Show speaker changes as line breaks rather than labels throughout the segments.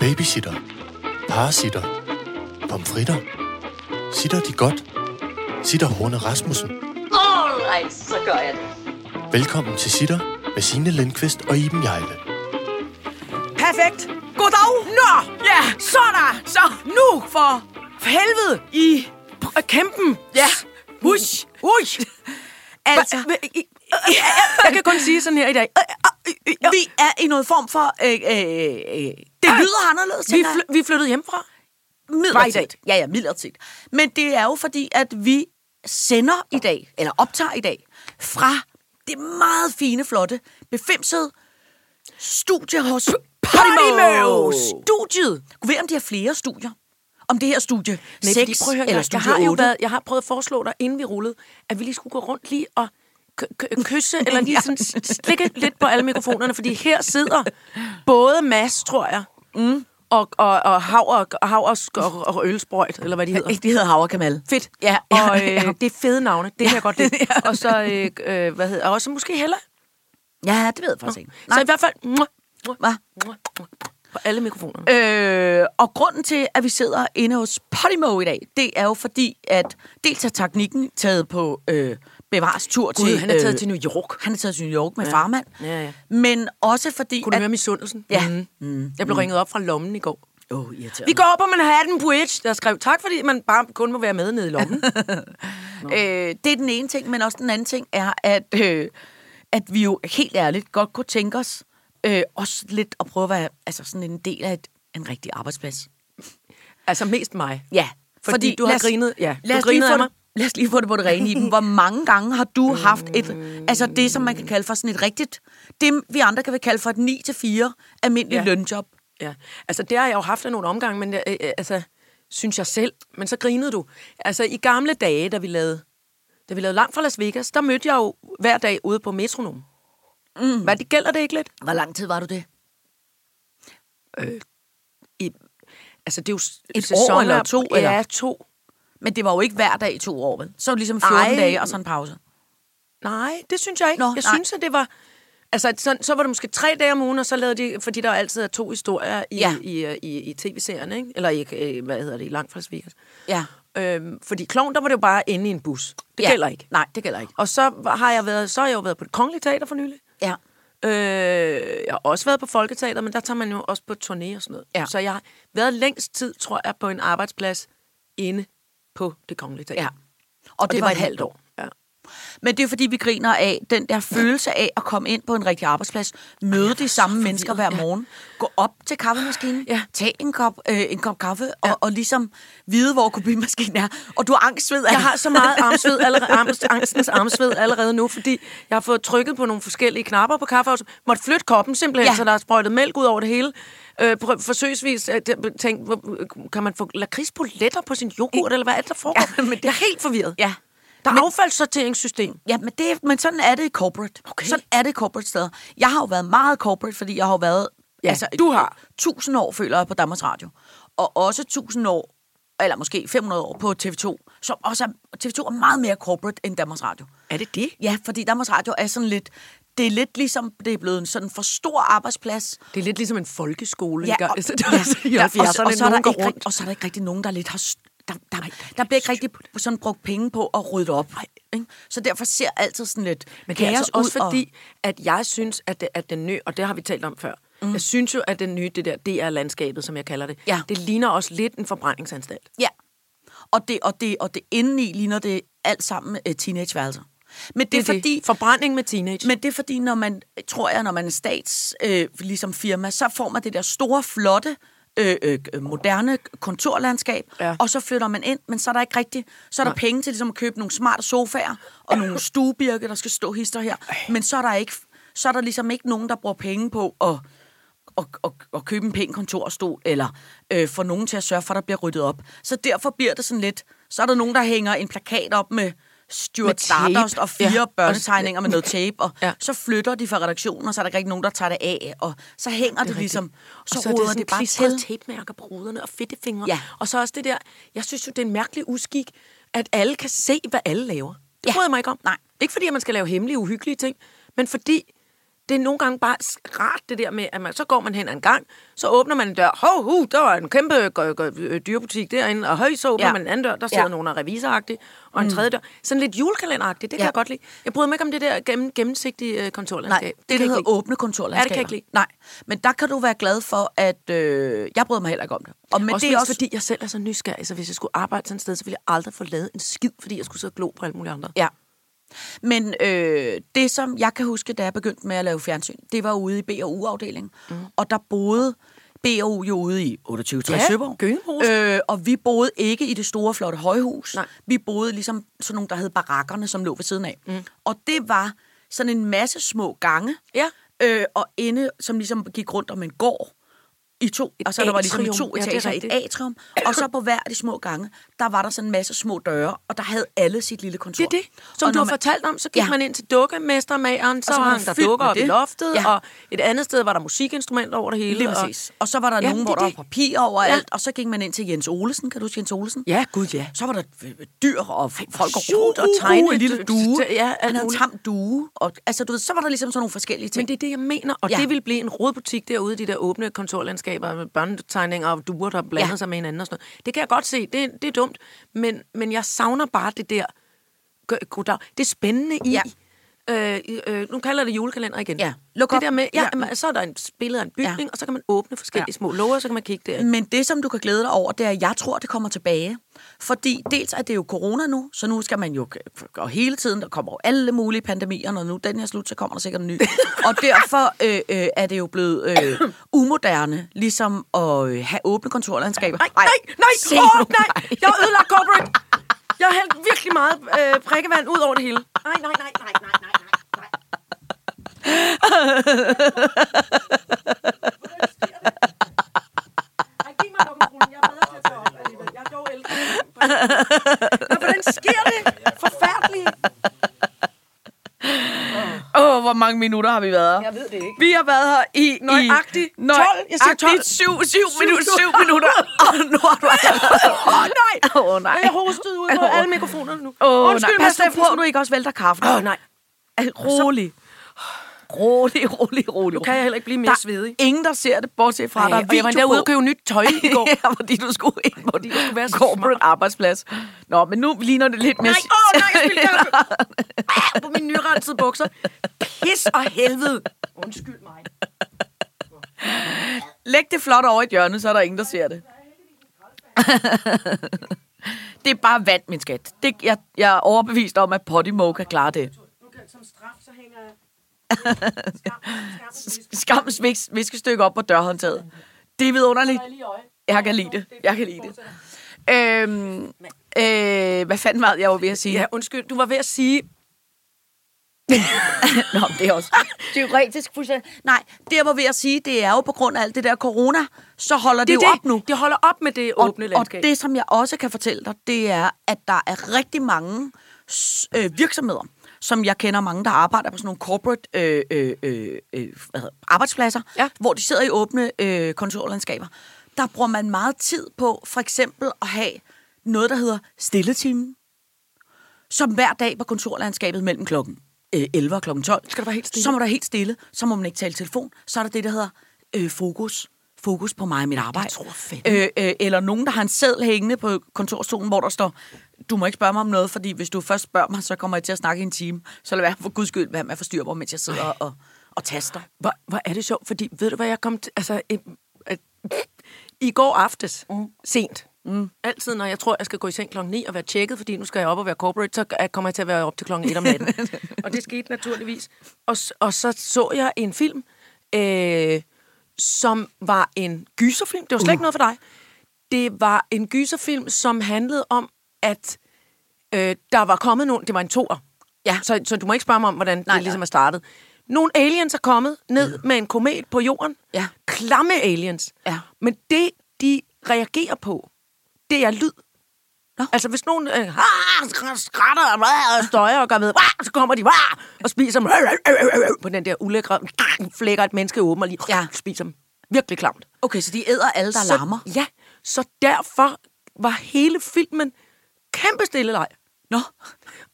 Babysitter. Parasitter. Pomfritter. Sitter de godt? Sitter Horne Rasmussen.
Alright, så gør jeg det.
Velkommen til Sitter med Signe Lindqvist og Iben Jejle.
Perfekt. Goddag. Nå,
Ja,
så er der.
så nu
For
for helvede i pr- kæmpen.
Ja.
Hush.
Ui.
Altså, Øh,
Altså,
jeg kan kun sige sådan her i dag.
Øh, vi er i noget form for... Øh, øh, øh, det lyder anderledes,
Vi,
tænker jeg.
fly- vi flyttede hjemmefra. Var i
Midlertidigt.
dag.
Ja, ja, midlertidigt. Men det er jo fordi, at vi sender i dag, eller optager i dag, fra det meget fine, flotte, befimsede studie hos Podimo.
Podimo.
Studiet. Gud ved, om de har flere studier. Om det her studie 6
prøv at høre,
eller
jeg, jeg
studie
har
8.
jo været, jeg har prøvet at foreslå dig, inden vi rullede, at vi lige skulle gå rundt lige og k- k- kysse, eller lige sådan s- slikke lidt på alle mikrofonerne, fordi her sidder både Mads, tror jeg, mm. og, og, og Hav og, og, hav og, sk- og, og Ølsprøjt, eller hvad de hedder.
Ikke, de hedder Havrekanal.
Fedt.
Ja,
og
ja, ja.
øh, det er fede navne, det kan jeg godt lide. Og så, øh, øh, hvad hedder, og også måske Hella.
Ja, det ved jeg faktisk ikke.
Så i hvert fald, mwah, mwah,
Hva?
mwah, mwah, på alle mikrofonerne.
Øh, og grunden til, at vi sidder inde hos Podimo i dag, det er jo fordi, at dels er teknikken taget på øh, Bevares tur
Gud,
til...
han er taget
øh,
til New York.
Han er taget til New York med ja. farmand.
Ja, ja.
Men også fordi...
Kunne du
at,
høre misundelsen?
Ja.
Mm. Mm. Jeg blev ringet op fra lommen i går.
Åh, oh,
Vi går på Manhattan Bridge, der skrev, tak fordi man bare kun må være med nede i lommen.
øh, det er den ene ting, men også den anden ting er, at, øh, at vi jo helt ærligt godt kunne tænke os øh, også lidt at prøve at være altså sådan en del af et, en rigtig arbejdsplads.
altså mest mig.
Ja,
Fordi du har
lad os-
grinet- ja,
lad
du
os lige
grinede
få
af
det-
mig.
Lad os lige få det på det rene i dem. Hvor mange gange har du haft et,
Mm.
altså det, som man kan kalde for sådan et rigtigt, det vi andre kan vel kalde for et 9-4 almindeligt ja.
Ja.
lønjob.
Ja. Altså, det har jeg jo haft af nogle omgange, men øh, øh, altså, synes jeg selv. Men så grinede du. Altså, i gamle dage, da vi lavede, da vi lavede langt fra Las Vegas, der mødte jeg jo hver dag ude på metronom. Mm. Hvad, det gælder det ikke lidt?
Hvor lang tid var du det?
I, altså, det er jo s-
Et år
sæsoner-
eller to,
Ja,
eller?
to.
Men det var jo ikke hver dag i to år, vel? Så var det ligesom 14 Ej.
Ej.
dage og så en pause.
Nej, det synes jeg ikke.
Nå,
Nå, jeg
nej.
nej. synes, at det var... Altså, så, så var det måske tre dage om ugen, og så lavede de... Fordi der altid er to historier i,
Ja.
ja. i, øh, i, i tv-serien, ikke? Eller i, øh, hvad hedder det, i langt fra Las Vegas.
Ja.
Øhm, fordi klovn, der var det jo bare inde i en bus. Det
Ja.
ja. gælder ikke.
Nej, det gælder ikke.
Og så har jeg været, så har jeg jo været på det kongelige teater for nylig.
Ja.
Øh, jeg har også været på Folketeater, men der tager man jo også på turné og sådan noget.
Ja.
Så jeg har været længst tid, tror jeg, på en arbejdsplads inde på det kongelige teater.
Ja.
Ja.
Og, og det, det var et halvt år.
Ja.
Men det er fordi, vi griner af den der følelse af at komme ind på en rigtig arbejdsplads, møde de samme mennesker hver morgen, gå op til kaffemaskinen, ja.
Ja.
tage en kop, øh, en kop kaffe og, og ligesom vide, hvor kopimaskinen er. Og du har angst ved, at...
Jeg har så meget armsved allerede, armst, angstens armsved allerede nu, fordi jeg har fået trykket på nogle forskellige knapper på kaffe, og måtte flytte koppen simpelthen,
Ja.
ja. så der er sprøjtet mælk ud over det hele. Øh, prøv, forsøgsvis øh, det- tænk, hvor- kan man få lakridspoletter på sin yoghurt, eller hvad er det, der foregår?
Ja,
Ja,
men
men det er helt forvirret.
Ja.
Der er affaldssorteringssystem.
Ja, men, det, men sådan er det i corporate.
Okay.
Sådan er det i corporate steder. Jeg har jo været meget corporate, fordi jeg har jo været... altså,
Ja, du har.
Tusind år, føler jeg, på Danmarks Radio. Og også tusind år, eller måske 500 år på TV2, som også er, TV2 er meget mere corporate end Danmarks Radio.
Er det det?
Ja, fordi Danmarks Radio er sådan lidt... Det er lidt ligesom, det er blevet en sådan for stor arbejdsplads.
Det er lidt ligesom en folkeskole.
Ja,
ikke?
og,
Altså,
ja,
det var
ja,
altså i
og, så-
70'erne,
og, så er der
nogen går
ikke,
rundt.
rigt- og så er der ikke rigtig nogen, der lidt har... s- Der, der, der bliver ikke rigtig sådan brugt penge på at rydde op. Ikke? Så derfor ser altid sådan lidt
Men det er altså
ud,
også fordi, at jeg synes, at, det, at den nye, og det har vi talt om før, mm. jeg synes jo, at den nye, det der DR-landskabet, som jeg kalder det,
Ja.
det ligner også lidt en forbrændingsanstalt.
Ja. Og det, og det, og det indeni ligner det alt sammen øh, teenageværelser. Men det, det er fordi...
Forbrænding med teenage.
Men det er fordi, når man, tror jeg, når man er stats, øh, ligesom firma, så får man det der store, flotte, øh, øh, moderne kontorlandskab, ja.
Ja.
og så flytter man ind, men så er der ikke rigtigt, så er der Nej. penge til ligesom, at købe nogle smarte sofaer, og nogle stuebirke, der skal stå hister her, men så er der ikke, så er der ligesom ikke nogen, der bruger penge på at og, og, og købe en pæn kontorstol, eller øh, få nogen til at sørge for, at der bliver ryddet op. Så derfor bliver det sådan lidt, så er der nogen, der hænger en plakat op med
Med
Stuart
tape.
Stardust og fire
Ja.
ja.
Og så-
børnetegninger med noget tape, og
Ja.
så flytter de fra redaktionen, og så er der ikke rigtig nogen, der tager det af, og så hænger det, det
rigtigt.
ligesom,
og
så,
så,
så
er det
roder
sådan
det, bare
klistrede
til.
tapemærker på ruderne og fedtefingre.
Ja.
Og så også det der, jeg synes jo, det er en mærkelig uskik, at alle kan se, hvad alle laver. Det
Ja.
ja. bryder jeg mig ikke om.
Nej.
Ikke fordi, at man skal lave hemmelige, uhyggelige ting, men fordi det er nogle gange bare s- rart det der med, at man, så går man hen ad en gang, så åbner man en dør, hov, hu, der var en kæmpe gø- gø- øh, dyrebutik derinde, og høj, så åbner
Ja.
ja. man en anden dør, der sidder
Ja. Mm.
ja. nogen der er revisoragtigt, og en tredje dør. Sådan lidt julekalenderagtigt, det kan
Ja.
ja. jeg godt lide. Jeg bryder mig ikke om det der gennem, gennemsigtige øh, kontorlandskab.
Nej, det,
kan
det
jeg
hedder
ikke lide.
åbne kontorlandskaber.
Ja, det kan jeg ikke lide.
Nej, men der kan du være glad for, at øh, jeg bryder mig heller ikke om det. Og, men
Men også
det er
også fordi, jeg selv er så nysgerrig, så hvis jeg skulle arbejde sådan et sted, så ville jeg aldrig få lavet en skid, fordi jeg skulle sidde og glo på alle mulige andre.
Ja. Men øh, det, som jeg kan huske, da jeg begyndte med at lave fjernsyn, det var ude i B&U-afdelingen. Mm. Og der boede B&U jo ude i 28
Ja,
Søborg.
Gødingehuset.
Øh, og vi boede ikke i det store, flotte højhus.
Nej.
Vi boede ligesom sådan nogle, der hed barakkerne, som lå ved siden af. Mm. Og det var sådan en masse små gange.
Ja.
Øh, og inde, som ligesom gik rundt om en gård. I to,
Et
og så der var ligesom i
atrium.
to
Ja, det er
etager, et
rigtigt.
atrium, og så på hver af de små gange, der var der sådan en masse små døre, og der havde alle sit lille kontor.
Det er det. Som
Og
du
når
har
man-
fortalt om, så gik
Ja.
ja. man ind til dukkemestermageren, så,
så
så
var
hang
der
der
fyldt
dukker
med
op i
det.
loftet,
Ja.
ja. og et andet sted var der musikinstrumenter over det hele.
Lige
og-
præcis. Og så var der
Ja,
nogen,
det
hvor
er
der var
det.
papir over alt, og så gik man ind til Jens Olesen. Kan du huske Jens Olesen?
Ja, gud ja.
Så var der øh, dyr og f- folk og
sjovt
rut
at
og tegne
tegne
en
et-
lille due.
Uh, Ja, alt
Han havde en
muligt.
tam due. Og, altså, du ved, så var der ligesom sådan nogle forskellige ting.
Men det er det, jeg mener, og
Ja.
ja. det vil blive en rodbutik derude, de der åbne kontorlandskaber med børnetegninger og duer, der blander
Ja.
ja. sig med hinanden og sådan noget. Det kan jeg godt se, det, det er dumt, men, men jeg savner bare det der, Gø- goddag, det spændende i,
Ja.
ja. øh, i- øh, nu kalder jeg det julekalender igen.
Ja. Luk
det
op.
der med, ja,
Ja.
jamen, så er der en billede af en bygning,
Ja.
ja. og så kan man åbne forskellige
Ja.
ja. små låger, så kan man kigge der.
Men det, som du kan glæde dig over, det er, at jeg tror, det kommer tilbage. Fordi dels er det jo corona nu, så nu skal man jo... Og hele tiden, der kommer jo alle mulige pandemier, når nu den her slut, så kommer der sikkert en ny. og derfor øh, øh, er det jo blevet øh, umoderne, ligesom at øh, have åbne kontorlandskaber.
Nej, nej, nej,
Se
åh,
nu,
nej, jeg har ødelagt corporate. Jeg har hældt virkelig meget øh, prikkevand ud over det hele.
Nej, nej, nej, nej, nej, nej, nej.
Ej, giv mig dommerrullen. Jeg er bedre til at tage op alligevel. Jeg er dog ældre. Nå, hvordan sker det? Forfærdeligt.
Åh, oh, hvor mange minutter har vi været her? Jeg ved det ikke. Vi har været her i...
Nøjagtigt
i, nøjagtigt
12. Jeg siger 12.
7, 7, minutter. 7 minutter. Åh, oh, nu har du...
Åh, oh, nej.
Åh, oh, nej.
Jeg hostede ud på alle mikrofonerne nu.
Åh, oh, nej.
Undskyld,
Pas
Mads
nu på,
Steffensen.
at du ikke også vælter kaffen.
Åh, nej.
Altså, Rolig. Rolig, rolig, rolig. Nu
kan jeg heller ikke blive mere svedig.
ingen, der ser det, bortset fra,
Ej,
Ej, der er
og jeg var endda
video
ude
på.
og købe nyt tøj i går.
ja, fordi du skulle ind på
Fordi jeg skulle være så
corporate arbejdsplads. Nå, men nu ligner det lidt mere...
Nej, åh, oh, nej, jeg spildte kaffe. Ah, på mine nyrensede bukser. Pis og helvede. Undskyld mig.
Læg det flot over i et hjørne, så er der ingen, der ser det. det er bare vand, min skat. Det, jeg, jeg er overbevist om, at Podimo kan klare det.
Som straf, så hænger jeg...
Skams vis- viskestykke op på dørhåndtaget. Det er vidunderligt. Jeg kan lide det. Jeg kan lide det. Øhm, øh, hvad fanden var det, jeg var ved at sige?
Ja, undskyld. Du var ved at sige,
Nå, men det er også teoretisk fuldstændig. Nej, det jeg var ved at sige, det er jo på grund af alt det der corona, så holder det,
det,
det
er
jo
det.
op nu.
Det holder op med det åbne
og,
landskab.
og det, som jeg også kan fortælle dig, det er, at der er rigtig mange s- øh, virksomheder, som jeg kender mange, der arbejder på sådan nogle corporate øh, øh, øh, øh, hvad hedder, arbejdspladser,
Ja.
hvor de sidder i åbne øh, kontorlandskaber. Der bruger man meget tid på for eksempel at have noget, der hedder stilletimen, som hver dag på kontorlandskabet mellem klokken øh, 11 og klokken 12.
Skal der være helt stille?
Så må der helt stille, så må man ikke tale i telefon. Så er der det, der hedder øh, fokus. Fokus på mig og mit arbejde.
tror
øh, øh, eller nogen, der har en seddel hængende på kontorstolen, hvor der står, du må ikke spørge mig om noget, fordi hvis du først spørger mig, så kommer jeg til at snakke i en time. Så lad være for guds skyld, hvad med at forstyrre mig, mens jeg sidder og, og taster.
Hvor, hvor er det sjovt, fordi ved du hvad, jeg kom til, altså, øh, øh, i går aftes, mm. sent, mm. altid når jeg tror, jeg skal gå i seng klokken 9 og være tjekket, fordi nu skal jeg op og være corporate, så øh, kommer jeg til at være op til klokken 1 om natten. og det skete naturligvis. Og, s- og så så jeg en film, øh, som var en gyserfilm, det var slet ikke noget for dig. Det var en gyserfilm, som handlede om, at øh, der var kommet nogen, det var en toer. Ja. Så, så du må ikke spørge mig om, hvordan nej,
nej. Mm.
det ligesom er startet. Nogle aliens er kommet ned ja. med en komet på jorden.
Ja.
Klamme aliens.
Ja.
Men det, de reagerer på, det er lyd. Nå. Altså, hvis nogen øh, ah, skrætter og ah, støjer og gør ved, ah, så kommer de ah, og spiser dem øh, øh, øh, øh, på den der ulækre, flækker et menneske åben og lige
Ja.
ja. spiser dem. Virkelig klamt
Okay, så de æder alle, der
så,
larmer.
Ja, så derfor var hele filmen kæmpe stilleleg. Nå.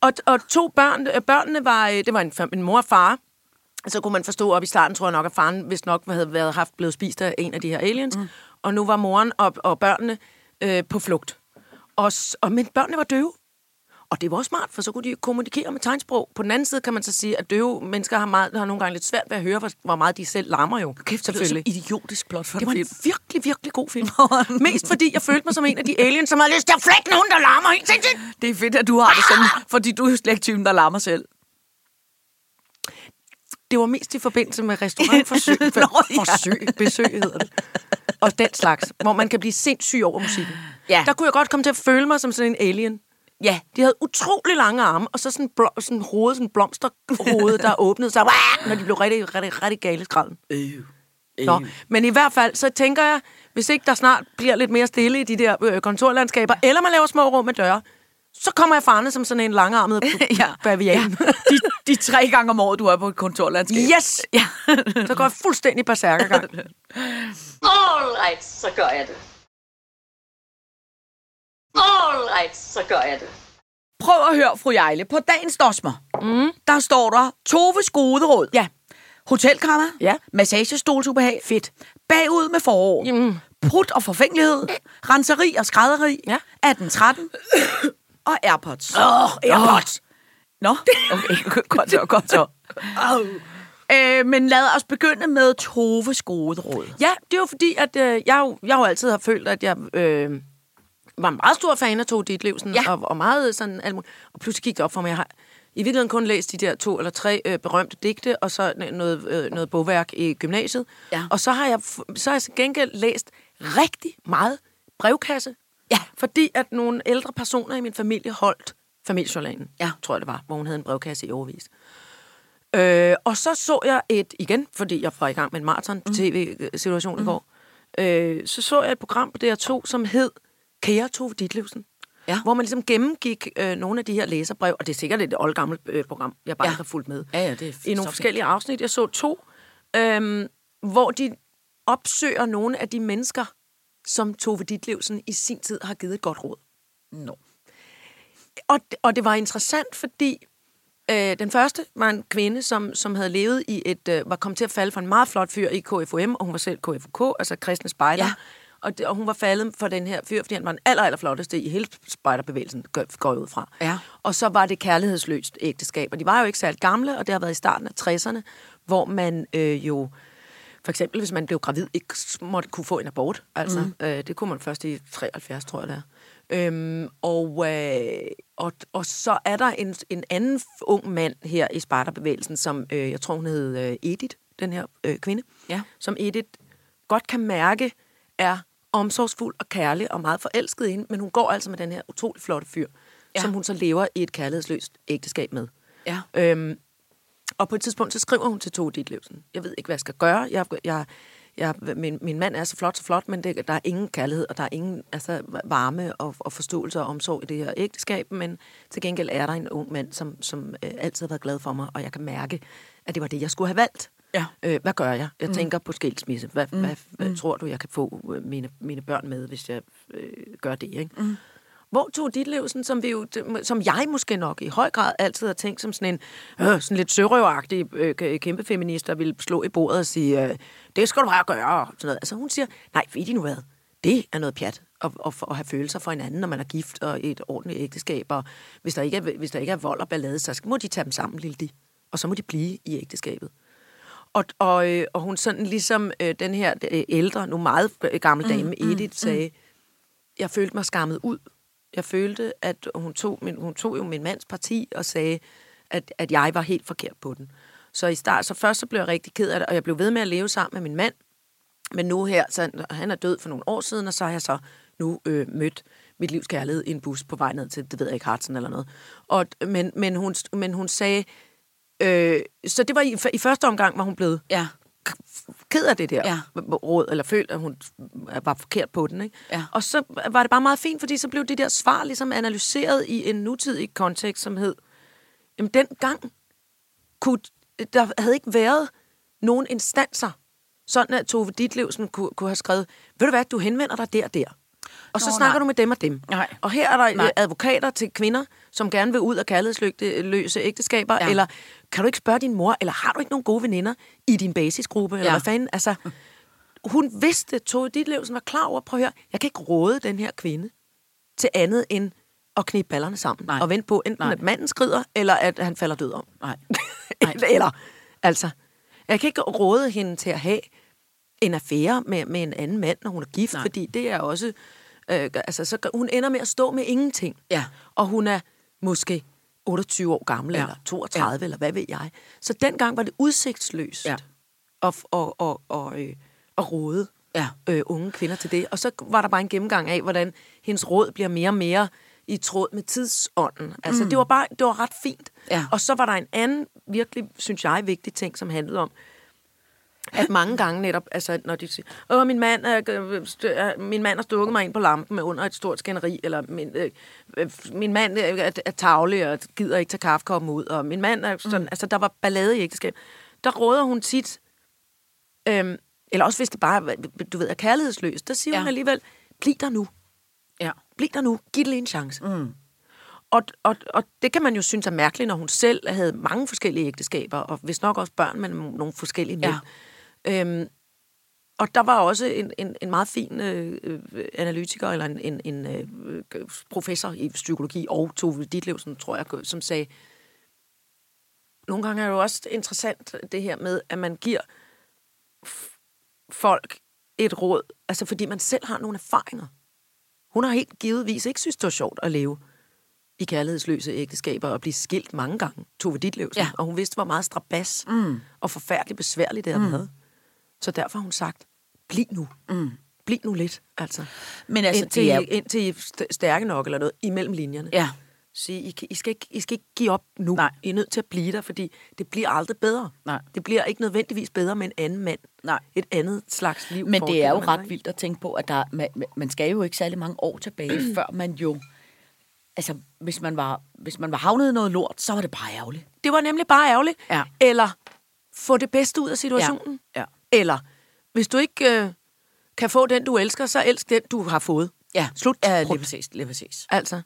Og, og to børn, øh, børnene var, øh, det var en, fam- en mor og far, så kunne man forstå op i starten, tror jeg nok, at faren hvis nok havde været, haft blevet spist af en af de her aliens. Mm. Og nu var moren og, og børnene øh, på flugt. Og, s- og, men børnene var døve. Og det var også smart, for så kunne de kommunikere med tegnsprog. På den anden side kan man så sige, at døve mennesker har, meget, har nogle gange lidt svært ved at høre, hvor, hvor meget de selv larmer jo.
Kæft, det lyder som idiotisk plot for
Det
en
var en
film.
virkelig, virkelig god film. Mest fordi jeg følte mig som en af de aliens, som havde lyst til at flække nogen, der larmer helt sindssygt.
Det er fedt, at du har det
Ah!
sådan, fordi du er jo slet ikke typen, der larmer selv.
Det var mest i forbindelse med restaurantforsøg,
Nå, ja.
forsøg, besøg hedder det. Og den slags, hvor man kan blive sindssyg over musikken.
Ja.
Der kunne jeg godt komme til at føle mig som sådan en alien.
Ja.
De havde utrolig lange arme, og så sådan, bl- sådan hoved, sådan blomsterhoved, der åbnede sig, wah, når de blev rigtig, rigtig, rigtig gale i skralden. Nå, men i hvert fald, så tænker jeg, hvis ikke der snart bliver lidt mere stille i de der øh, kontorlandskaber, eller man laver små rum med døre, så kommer jeg farne som sådan en langarmet
Ja.
bavian.
De, de tre gange om året, du er på et kontorlandskab.
Yes!
Ja.
Så går jeg fuldstændig berserkergang.
Alright, så gør jeg det. Alright, så gør jeg det.
Prøv at høre, fru Jejle. På dagens dosmer, mm. der står der Toves gode råd.
Ja.
Hotelkrammer.
Ja.
Massagestolsubehag.
Fedt.
Bagud med forår.
Jamen.
Prut og forfængelighed. Renseri og skrædderi.
Ja.
1813. og Airpods.
Åh, oh,
Airpods. Nå, okay. Godt så, godt så. Øh, men lad os begynde med Toves gode råd.
Ja, det var fordi, at øh, jeg, jo, jeg jo altid har følt, at jeg øh, var en meget stor fan af Tove Ditlevsen,
Ja.
ja. og, og meget sådan alt muligt. Og pludselig gik det op for mig, jeg har i virkeligheden kun læst de der to eller tre øh, berømte digte, og så n- noget, øh, noget bogværk i gymnasiet.
Ja.
Og så har jeg f- så har jeg til gengæld læst rigtig meget brevkasse.
Ja.
Fordi at nogle ældre personer i min familie holdt familiejournalen,
Ja.
tror jeg det var, hvor hun havde en brevkasse i overvis. Øh, og så så jeg et, igen, fordi jeg var i gang med en
Mm.
maraton-tv-situation i går, øh, så så jeg et program på DR2, som hed Kære Tove Ditlevsen.
Ja.
Hvor man ligesom gennemgik øh, nogle af de her læserbrev, og det er sikkert et oldgammelt øh, program, jeg bare
Ja.
ja. har fulgt med.
Ja, ja, det er
I
så
nogle
fint.
forskellige afsnit. Jeg så to, øhm, hvor de opsøger nogle af de mennesker, som Tove Ditlevsen i sin tid har givet et godt råd
Nå.
og, og det var interessant, fordi øh, den første var en kvinde, som, som havde levet i et, øh, var kommet til at falde for en meget flot fyr i KFUM, og hun var selv KFUK, altså kristne spejder.
Ja.
Ja. Og, det, og hun var faldet for den her fyr, fordi han var den aller, aller flotteste i hele spejderbevægelsen, går, går jeg ud fra.
Ja.
Og så var det kærlighedsløst ægteskab, og de var jo ikke særlig gamle, og det har været i starten af 60'erne, hvor man øh, jo... For eksempel, hvis man blev gravid, ikke s- måtte kunne få en abort. Altså, mm. øh, det kunne man først i 73, tror jeg det er. Øhm, og, øh, og, og så er der en, en anden f- ung mand her i Sparta-bevægelsen, som øh, jeg tror, hun hed øh, Edith, den her øh, kvinde,
Ja.
som Edith godt kan mærke er omsorgsfuld og kærlig og meget forelsket i hende, men hun går altså med den her utrolig flotte fyr,
Ja.
ja. som hun så lever i et kærlighedsløst ægteskab med.
Ja.
Øhm, og på et tidspunkt, så skriver hun til Tove Ditlevsen. Jeg ved ikke, hvad jeg skal gøre. Jeg, jeg, jeg, min, min mand er så flot, så flot, men det, der er ingen kærlighed, og der er ingen altså, varme og, og forståelse og omsorg i det her ægteskab. Men til gengæld er der en ung mand, som, som øh, altid har været glad for mig, og jeg kan mærke, at det var det, jeg skulle have valgt.
Ja.
Øh, hvad gør jeg? Jeg mm. tænker på skilsmisse. Hvad, mm. hvad, hvad mm. tror du, jeg kan få øh, mine, mine børn med, hvis jeg øh, gør det? Ikke? Mm. Hvor tog dit liv, sådan, som, vi jo, som jeg måske nok i høj grad altid har tænkt som sådan en øh, sådan lidt sørøveragtig øh, k- kæmpe feminist, der ville slå i bordet og sige, øh, det skal du bare gøre. Og sådan noget. Altså hun siger, nej, ved I nu hvad? Det er noget pjat at, at, at have følelser for hinanden, når man er gift og i et ordentligt ægteskab. Og hvis der, ikke er, hvis der ikke er vold og ballade, så skal- må de tage dem sammen, lille de. Og så må de blive i ægteskabet. Og, og, øh, og hun sådan ligesom øh, den her øh, ældre, nu meget øh, gammel dame, mm, Edith, sagde, jeg følte mig skammet ud. Jeg følte, at hun tog, min, hun tog jo min mands parti og sagde, at, at jeg var helt forkert på den. Så i start, så først så blev jeg rigtig ked af det, og jeg blev ved med at leve sammen med min mand. Men nu her, så han- han er død for nogle år siden, og så har jeg så nu øh, mødt mit livs kærlighed i en bus på vej ned til, det ved jeg ikke, Hartsen eller noget. Og, men, men, hun, men hun sagde, øh, så det var i, i første omgang, var hun blevet
Ja.
ked af det der
Ja.
ja. råd, eller følte, at hun var forkert på den. Ikke?
Ja.
Og så var det bare meget fint, fordi så blev det der svar ligesom analyseret i en nutidig kontekst, som hed, jamen dengang kunne, der havde ikke været nogen instanser, sådan at Tove Ditlevsen kunne, kunne have skrevet, ved du hvad, du henvender dig der og der. Og så
Nå,
Nå, snakker nej.
nej.
du med dem og dem.
Nej.
Og her er der
Nej.
nej. advokater til kvinder, som gerne vil ud af kærlighedsløse ægteskaber.
Ja.
Ja. Eller kan du ikke spørge din mor, eller har du ikke nogen gode veninder i din basisgruppe? Eller
Ja.
hvad fanden? Altså, hun vidste, Tove Ditlevsen var klar over, prøv at høre, jeg kan ikke råde den her kvinde til andet end at knibe ballerne sammen.
Nej.
Og vente på enten,
Nej.
nej. at manden skrider, eller at han falder død om.
Nej.
Nej. eller, altså, jeg kan ikke råde hende til at have en affære med, med en anden mand, når hun er gift,
Nej.
Nej. fordi det er også... Øh, altså, så, gør- hun ender med at stå med ingenting.
Ja.
Og hun er måske 28 år gammel,
Ja.
ja. eller 32, ja. eller hvad ved jeg. Så dengang var det udsigtsløst
Ja.
at, og, og, og, øh, at råde
Ja.
øh, unge kvinder til det. Og så var der bare en gennemgang af, hvordan hendes råd bliver mere og mere i tråd med tidsånden. Altså, mm. det var bare det var ret fint.
Ja.
Og så var der en anden, virkelig, synes jeg, vigtig ting, som handlede om, at mange gange netop, altså når de siger, åh, min mand, er, øh, stø- er- min mand har stukket mig ind på lampen under et stort skænderi, eller min, øh, øh, min mand øh, er, er tavlig og gider ikke tage kaffekoppen ud, og min mand er sådan, mm. altså der var ballade i ægteskab. Der råder hun tit, øhm, eller også hvis det bare, er, du ved, er kærlighedsløst, der siger
Ja.
ja. hun alligevel, bliv der nu,
Ja.
bliv der nu, giv det lige en chance. Mm. Og, og, og det kan man jo synes er mærkeligt, når hun selv havde mange forskellige ægteskaber, og hvis nok også børn med nogle nogle forskellige mænd. Ja. Øhm, og der var også en, en, en meget fin øh, øh, analytiker, eller en, en, en øh, øh, professor i psykologi, og Tove Ditlevsen, tror jeg, som sagde, nogle gange er det jo også interessant det her med, at man giver f- folk et råd, altså fordi man selv har nogle erfaringer. Hun har helt givetvis ikke synes, det var sjovt at leve i kærlighedsløse ægteskaber og blive skilt mange gange, Tove Ditlevsen.
Ja.
Ja. Og hun vidste, hvor meget strabas mm. og forfærdeligt besværligt det havde mm. været. Så derfor har hun sagt, bliv nu. Mm. Bliv nu lidt, altså.
Men altså,
indtil,
det er-
I, indtil I er st- stærke nok eller noget, imellem linjerne.
Ja.
Sige, I, kan- I, skal ikke, I skal ikke give op nu.
Nej.
I er nødt til at blive der, fordi det bliver aldrig bedre.
Nej.
Det bliver ikke nødvendigvis bedre med en anden mand.
Nej.
Et andet slags liv.
Men det er jo
forestiller man sig,
ret
ikke?
vildt at tænke på, at der, man, man skal jo ikke særlig mange år tilbage, før man jo... Altså, hvis man, var, hvis man var havnet i noget lort, så var det bare ærgerligt.
Det var nemlig bare ærgerligt.
Ja.
Eller få det bedste ud af situationen.
Ja.
Eller hvis du ikke øh, kan få den, du elsker, så elsk den, du har fået.
Ja.
Slut.
Ja, lige
Prut.
præcis, lige præcis.
Altså.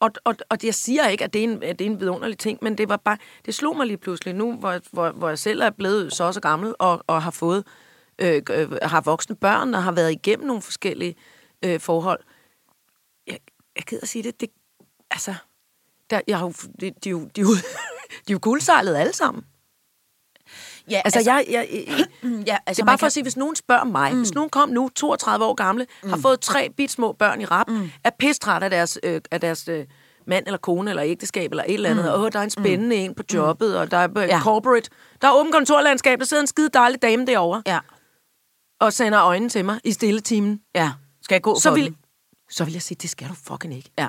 Og, og, og jeg siger ikke, at det, er en, at det er en vidunderlig ting, men det var bare, det slog mig lige pludselig nu, hvor, hvor, hvor jeg selv er blevet så og så gammel og, og har fået, øh, øh, har voksne børn og har været igennem nogle forskellige øh, forhold. Jeg, jeg gider at sige det, det altså, der, jeg har jo, de, de, er jo- de, er jo- de er jo guldsejlede alle sammen.
Ja,
Altså, altså jeg, jeg, jeg,
ja,
Altså,
altså
det er bare
man
for at sige, hvis nogen spørger mig, mm. hvis nogen kom nu, 32 år gamle, mm. har fået tre bit små børn i rap, mm. er pistræt af deres, øh, af deres øh, mand eller kone eller ægteskab eller et eller andet, mm. og åh, der er en spændende mm. en på jobbet, og der er øh,
Ja.
corporate, der er åben kontorlandskab, der sidder en skide dejlig dame derovre,
Ja.
og sender øjnene til mig i stille timen.
Ja. Skal jeg gå
Så
for
vil,
den?
så vil jeg sige, det skal du fucking ikke.
Ja.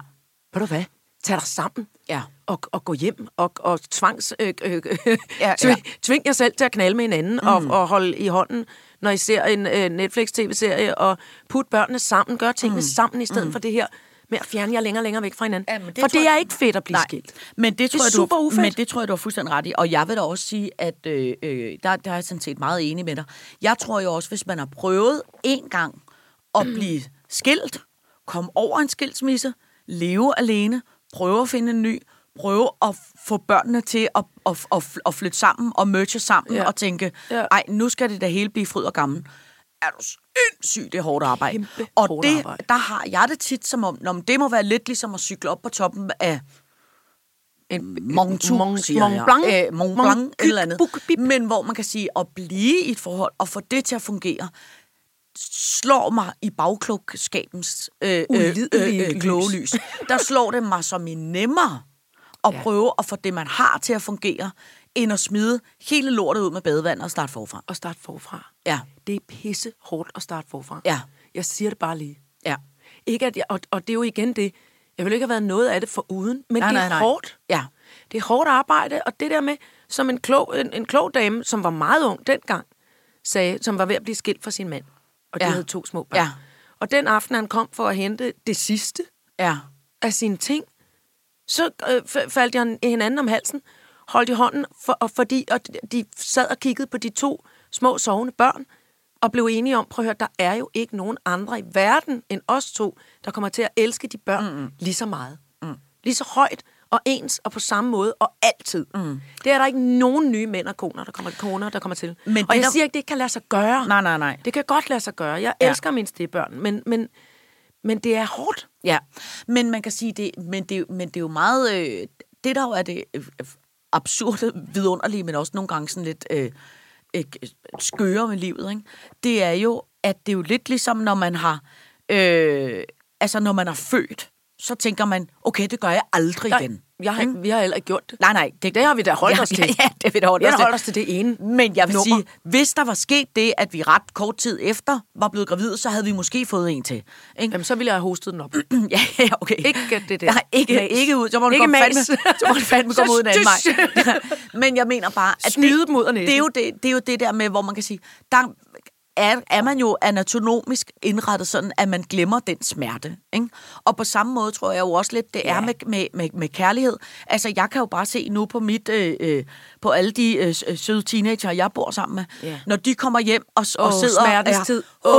Ved du hvad? Tag dig sammen.
Ja.
Og, og gå hjem og, og tvangs, øh, øh,
Ja,
ja,
ja.
ja. tving jer selv til at knalde med hinanden mm. og, og holde i hånden, når I ser en øh, Netflix-tv-serie, og put børnene sammen, gør tingene mm. sammen i stedet mm. for det her med at fjerne jer længere og længere væk fra hinanden.
Ja, men det
for
tror
det
jeg-
er ikke fedt at blive
Nej.
skilt.
Men det, tror
er
jeg, du,
super
har-
ufedt.
Men det tror jeg, du har fuldstændig ret i. Og jeg vil da også sige, at øh, øh, der, der er jeg sådan set meget enig med dig. Jeg tror jo også, hvis man har prøvet en gang at blive skilt, komme over en skilsmisse, leve alene, prøve at finde en ny, prøve at få børnene til at, at, at, at flytte sammen og merge sammen ja.
Ja.
og tænke,
Ja.
ej, nu skal det da hele blive fryd og gammel. Er du sindssygt, det er hårdt arbejde.
Kæmpe
og
hårdt
det,
arbejde.
der har jeg det tit som om, når det må være lidt ligesom at cykle op på toppen af
En,
Montu,
Mont-
Øh, siger
Mont
jeg.
Blanc.
Øh,
Mont
Mont Blanc, et eller
Buk-
andet.
Bip.
Men hvor man kan sige, at blive i et forhold og få det til at fungere, slår mig i bagklogskabens øh, øh, øh,
Ulidelige
øh,
lys.
kloge lys. Der slår det mig som en nemmere at ja.
Ja.
prøve at få det, man har til at fungere, end at smide hele lortet ud med badevandet og starte forfra.
og starte forfra.
Ja.
Det er pisse hårdt at starte forfra.
Ja.
Jeg siger det bare lige.
Ja.
Ikke at jeg, og, og det er jo igen det, jeg ville ikke have været noget af det for uden, men
Nej,
det er
nej, nej.
hårdt.
Ja.
Det er hårdt arbejde, og det der med, som en klog, en, en klog dame, som var meget ung dengang, sagde, som var ved at blive skilt fra sin mand, og de
Ja.
havde to små børn.
Ja.
Og den aften, han kom for at hente det sidste
Ja.
af sine ting, så øh, f- faldt jeg hinanden om halsen, holdt i hånden, for, og fordi og de sad og kiggede på de to små sovende børn, og blev enige om, prøv at høre, der er jo ikke nogen andre i verden end os to, der kommer til at elske de børn mm. lige så meget. Mm. Lige så højt og ens og på samme måde og altid. Mm. Det er der ikke nogen nye mænd og koner, der kommer, koner, der kommer til.
Men
Men og
det,
jeg
der-
siger ikke, det ikke kan lade sig gøre.
Nej, nej, nej.
Det kan godt lade sig gøre. Jeg
Ja.
elsker ja. mine stedbørn, men, men, men det er hårdt.
Ja, men man kan sige, det, men, det, men det er jo meget... Øh, det der jo er det øh, absurde, vidunderlige, men også nogle gange sådan lidt øh, øh, skøre med livet, ikke? det er jo, at det er jo lidt ligesom, når man har... Øh, altså, når man er født, så tænker man, okay, det gør jeg aldrig
Nej,
igen. Mm.
jeg, har- vi har heller ikke gjort det.
Nej, nej.
Det har vi da holdt
ja,
os til.
Ja, ja, det har vi da holdt
Vi har da
os til.
holdt os til det ene
Men jeg vil
nummer.
sige, hvis der var sket det, at vi ret kort tid efter var blevet gravide, så havde vi måske fået en til. Ikke?
Jamen, så ville jeg have hostet den op.
ja, ja, okay.
Ikke det der.
Nej, ikke,
Mas.
ikke ud. Så må du
Ikke
komme
mas.
fandme, så må du fandme komme
Så
ud en anden
tys.
vej. Men jeg mener bare, at
Snyde dem ud af næsen.
det, er jo det, det er jo det der med, hvor man kan sige, der er, er man jo anatomisk indrettet sådan, at man glemmer den smerte. Ikke? Og på samme måde tror jeg jo også lidt, det er med, med, med, med kærlighed. Altså, jeg kan jo bare se nu på mit, øh, øh, på alle de øh, s- øh, søde teenager, jeg bor sammen med,
Ja.
når de kommer hjem og, s- og
Åh,
sidder
smertens
og er
tid.
Åh,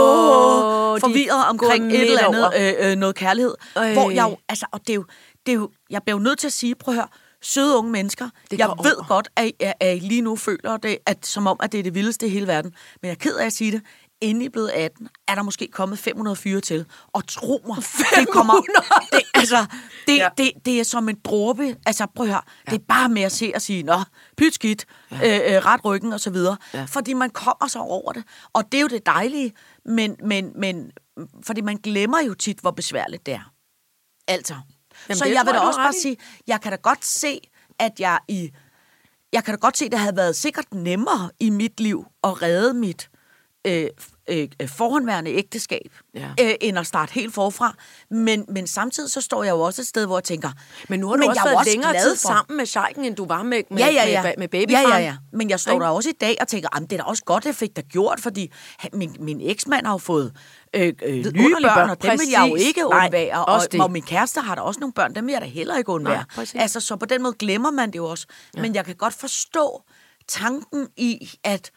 Åh, de
forvirret
er
omkring
gået
et
midt
eller andet
over.
øh, øh, noget kærlighed.
Øj.
Øh. Hvor jeg jo, altså, og det er jo, det er jo, jeg bliver jo nødt til at sige, prøv at høre, søde unge mennesker,
Det
jeg
går
ved
over.
godt, at I, at at I lige nu føler det, at, som om, at det er det vildeste i hele verden, men jeg er ked af at sige det, inden I er blevet 18, er der måske kommet 504 til. Og tro mig, det kommer... Det, altså, det, ja.
Ja.
det, det er som en dråbe. Altså, prøv at høre. Ja. Det er bare med at se og sige, nå, pyt skidt, ja. øh, øh, ret ryggen og så videre. Ja. Fordi man kommer sig over det. Og det er jo det dejlige, men, men, men fordi man glemmer jo tit, hvor besværligt det er. Altså. Jamen, så
det
jeg
tror
vil da
jeg, du
også
har
bare
ret i.
sige, jeg kan da godt se, at jeg i... Jeg kan da godt se, at det havde været sikkert nemmere i mit liv at redde mit øh, f- øh, øh, forhåndværende ægteskab,
Ja.
øh, end at starte helt forfra. Men, men samtidig så står jeg jo også et sted, hvor jeg tænker...
Men nu har du
men
også
jeg er jo
været længere
glad
tid
for-
sammen med Scheiken, end du var med, med,
ja, ja, ja.
med, med
ja,
babyfaren.
ja, ja. Men jeg står
Ikke?
der også i dag og tænker, "Jamen, det er da også godt, jeg fik det gjort, fordi han- min, min eksmand har jo fået øh, øh, nye børn,
underlige
børn,
børn.
og dem vil jeg jo
Præcis.
ikke
Nej,
undvære. og,
også det.
og min kæreste har da også nogle børn, dem vil jeg da heller ikke undvære.
Nej, præcis.
altså, så på den måde glemmer man det jo også. Ja. Men jeg kan godt forstå tanken i, at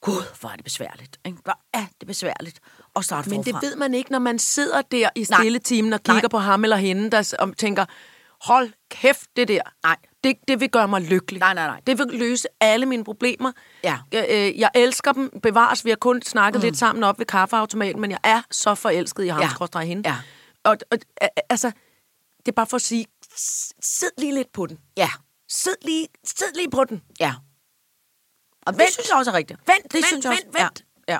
gud, hvor er det besværligt. Ikke? Hvor er det besværligt at starte
Men det
forfra.
ved man ikke, når man sidder der i stille timen og kigger
Nej.
Nej. på ham eller hende, der s- om, tænker, hold kæft det der.
Nej.
Det, det vil gøre mig lykkelig.
Nej, nej, nej.
Det vil løse alle mine problemer.
Ja.
Jeg, øh, jeg elsker dem. Bevares, vi har kun snakket mm. lidt sammen op ved kaffeautomaten, men jeg er så forelsket i ham,
Ja.
ja. hende.
Ja.
Og, og a- a- altså, det er bare for at sige, s- sid lige lidt på den.
Ja,
Sid lige, sid lige på den.
ja. Og det
Vent.
synes jeg også er rigtigt.
Vent,
det
vent,
synes jeg også,
vent, vent.
Ja, ja.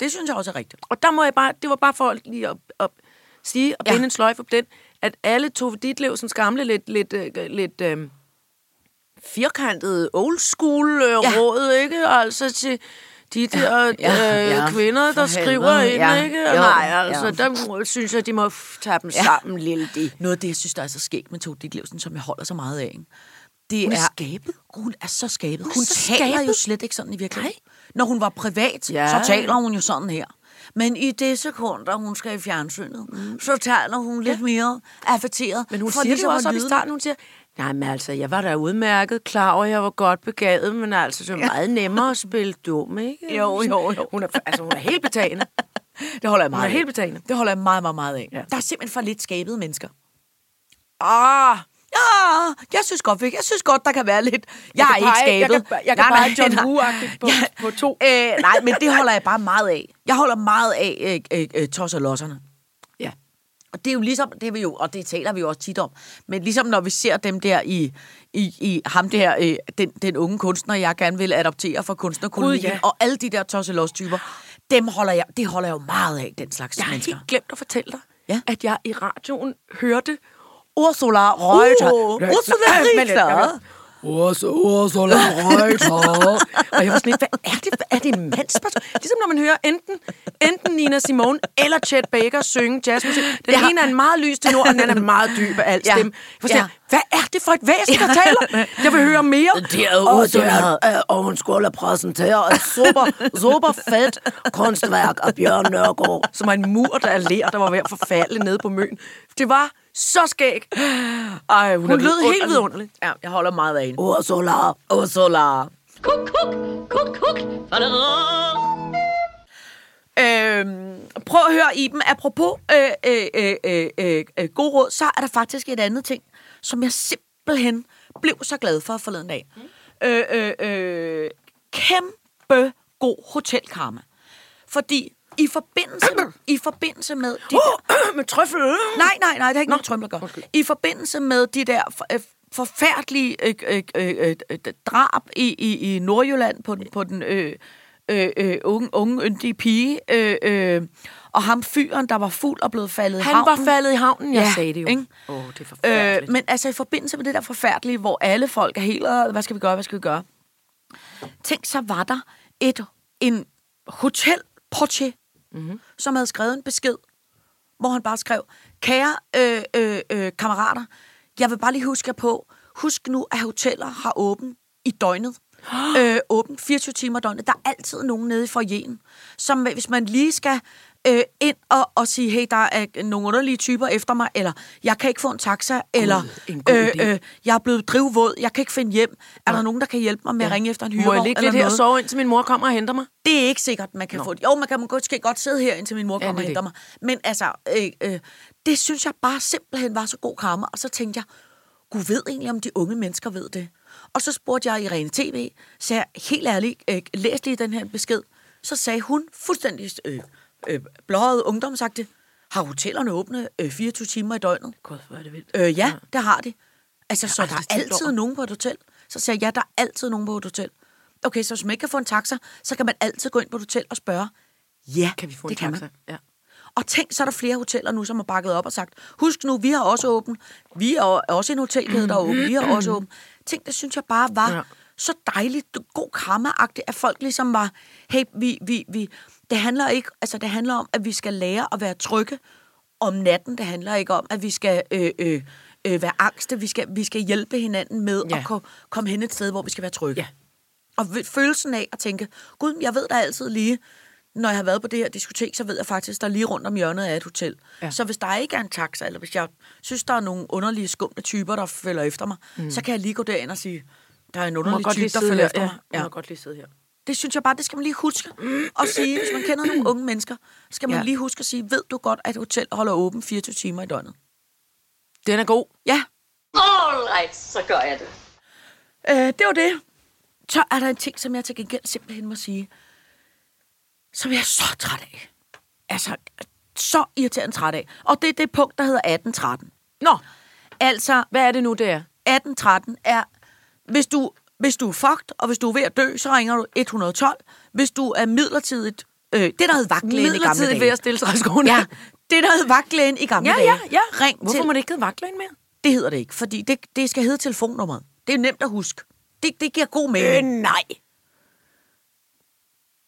Det synes jeg også er rigtigt.
Og der må jeg bare, det var bare for lige at, at sige og
Ja.
binde ja. en sløjfe på den, at alle Tove Ditlevsens gamle, lidt, lidt, øh, lidt øh, firkantede old school øh,
Ja.
ja. råd, ikke? Altså til de der ja,
ja,
øh,
ja.
ja, kvinder, der
For
skriver
helvede,
ind,
ja.
ja. ikke?
Jo,
Nej,
ja.
altså, ja. der synes jeg, de må f- tage dem
Ja.
ja. sammen, lille de.
Noget af det, jeg synes, der er så skægt med Tove Ditlevsen, som jeg holder så meget af, ikke? Det
Hun er
er
skabet.
Hun er så skabet. Hun,
er
hun
så
taler
skabet.
jo slet ikke sådan i virkeligheden. Når hun var privat, ja.
Ja.
så taler hun jo sådan her. Men i det sekund, da hun skal i fjernsynet, mm. så taler hun lidt ja. mere affekteret.
Men hun siger
for
det
ligesom
jo
at
også op i
lyde-
starten, hun siger, nej, men altså, jeg var da udmærket, klar over, at jeg var godt begavet, men altså, det var meget nemmere at spille dum, ikke?
Jo, jo, jo.
Hun er, altså, hun er helt betagende.
Det holder jeg meget
er
af.
helt betagende.
Det holder jeg meget, meget, meget af. Ja.
Ja.
Der er simpelthen for lidt skabede mennesker.
Ah,
Ja, jeg synes godt, Vic. Jeg synes godt, der kan være lidt. Jeg,
kan
er ikke
pege- jeg
skabet.
kan- jeg kan
Nej,
pege John
nej, nej.
Woo-agtigt på- på
Ja.
to.
Øh, nej, men det holder jeg bare meget af. Jeg holder meget af øh, øh, øh, tos og losserne.
ja.
Og det er jo ligesom, det er vi jo, og det taler vi jo også tit om, men ligesom når vi ser dem der i, i, i ham der, øh, den, den unge kunstner, jeg gerne vil adoptere fra kunstnerkolonien,
Gud, ja.
og alle de der tosselos-typer, dem holder jeg, det holder jeg jo meget af, den slags
Jeg har
mennesker.
helt glemt at fortælle dig,
Ja.
ja. Uh! at jeg i radioen hørte...
Ursula Reuter. Ursula
øh,
Reuter.
Ursula, Ursula Reuter. Og jeg var sådan lidt, hvad er det? Hvad er det en mandsperson? Ligesom når man hører enten, enten Nina Simone eller Chet Baker synge jazzmusik. Den
Ja.
ja. ene er en meget lys tenor, og den anden er en meget dyb af alt
Ja.
ja. stemme. Jeg var sådan
Ja.
ja. hvad er det for et væsen, der taler? Jeg vil høre mere.
Det er Ursula, øh, og hun skulle præsentere et super, super fedt kunstværk af Bjørn Nørgaard.
som var en mur, der er ler, der var ved at forfalde nede på møn. Det var så skæg. Ej, hun, hun lød helt vidunderligt.
Ja, jeg holder meget af hende.
Ursula.
Ursula.
Kuk, kuk, kuk, kuk. Fadadadam.
Øhm, prøv at høre, Iben. Apropos øh, øh, øh, øh, øh, øh, god råd, så er der faktisk et andet ting, som jeg simpelthen blev så glad for forleden dag. Mm. Øh, øh, øh, kæmpe god hotelkarma. Fordi i forbindelse, i forbindelse med de der
med trøffel.
Nej, nej, nej, det har ikke noget trømler gør. I forbindelse med de der for- øh, forfærdelige øh, øh, øh, øh, drab i, i, i Nordjylland på den, på den øh, øh, øh, unge, unge yndige pige, øh, øh, og ham fyren, der var fuld og blevet faldet i
Han
havnen.
var faldet i havnen, jeg
Ja,
sagde det jo.
ikke?
Åh, oh, det er
Øh,
forfærdeligt.
men altså i forbindelse med det der forfærdelige, hvor alle folk er helt, "Åh, hvad skal vi gøre, hvad skal vi gøre? Tænk, så var der et, en hotelportier, mm-hmm. som havde skrevet en besked, hvor han bare skrev, kære øh, øh, øh, kammerater, jeg vil bare lige huske jer på, husk nu, at hoteller har åbent i døgnet. Øh, åbent 24 timer i døgnet. Der er altid nogen nede i forjen, som øh, hvis man lige skal øh, ind og, og sige, hey, der er nogle underlige typer efter mig, eller jeg kan ikke få en taxa, God, eller
en god idé.
øh, jeg er blevet drivvåd, jeg kan ikke finde hjem. Er der nogen, der kan hjælpe mig med ja. at ringe efter en hyrevogn?
Må jeg ligge
eller
lidt her og
noget?
sove, indtil min mor kommer og henter mig?
det er ikke sikkert, man kan Nå. få det. Jo, man kan måske godt sidde her, indtil min mor
Ja,
kommer og
det er
henter mig. Men altså, øh, øh, det synes jeg bare simpelthen var så god karma. Og så tænkte jeg, gud ved egentlig, om de unge mennesker ved det. Og så spurgte jeg Irene TV, så jeg helt ærligt, øh, læs lige den her besked. Så sagde hun fuldstændig øh, øh, blåret ungdom, sagde, har hotellerne åbne øh, 24 timer i døgnet?
Gud, hvor er det vildt.
Øh, ja, det har de. Altså, så der
aldrig
er
tænkt
altid
over.
nogen på et hotel. Så siger jeg, ja, der er altid nogen på et hotel. Okay, så hvis man ikke kan få en taxa, så kan man altid gå ind på et hotel og spørge. Ja,
Kan vi få
det
en
kan
taxa?
Man.
Ja.
Og tænk, så er der flere hoteller nu, som har bakket op og sagt, husk nu, vi har også åben. Vi er o- også en hotelkæde, der er åben. Vi har også åben. Tænk, det synes jeg bare var
Mm-hmm. Ja.
ja. så dejligt, god karma at folk ligesom var, hey, vi, vi, vi, det handler ikke, altså det handler om, at vi skal lære at være trygge om natten. Det handler ikke om, at vi skal øh, øh, øh, være angste. Vi skal, vi skal hjælpe hinanden med
Ja.
ja. at ko- komme hen et sted, hvor vi skal være trygge.
Ja.
Og v- følelsen af at tænke, gud, jeg ved der er altid lige, når jeg har været på det her diskotek, så ved jeg faktisk, der lige rundt om hjørnet er et hotel.
Ja.
Ja. Så hvis der ikke er en taxa, eller hvis jeg synes, der er nogle underlige skumle typer, der følger efter mig, mm. så kan jeg lige gå derind og sige, der er en
Må
underlig
jeg godt
type,
lige
der
sidde
følger
her?
efter mig.
Ja, må jeg godt lige sidde her.
Det synes jeg bare, det skal man lige huske at sige. Hvis man kender nogle unge mennesker, skal man
Ja.
ja. lige huske at sige, ved du godt, at et hotel holder åben 24 timer i døgnet?
Den er god.
Ja,
All right, så gør jeg det.
øh, det var det. Så er der en ting, som jeg til gengæld simpelthen må sige, som jeg er så træt af. Altså, så irriterende træt af. Og det er det punkt, der hedder 1813.
Nå,
Altså,
hvad er det nu, det er?
1813 er, hvis du, hvis du er fucked, og hvis du er ved at dø, så ringer du 112. Hvis du er midlertidigt, øh, det der hed vagtlægen i gamle
Midlertidigt ved
dage.
at stille træskoene.
Ja, det der hed vagtlægen i gamle
ja,
dage.
ja, ja.
Ring
Hvorfor
til
må det ikke hedde vagtlægen mere?
det hedder det ikke, fordi det, det skal hedde telefonnummeret. Det er nemt at huske. Det, det giver god mening. Øh, nej.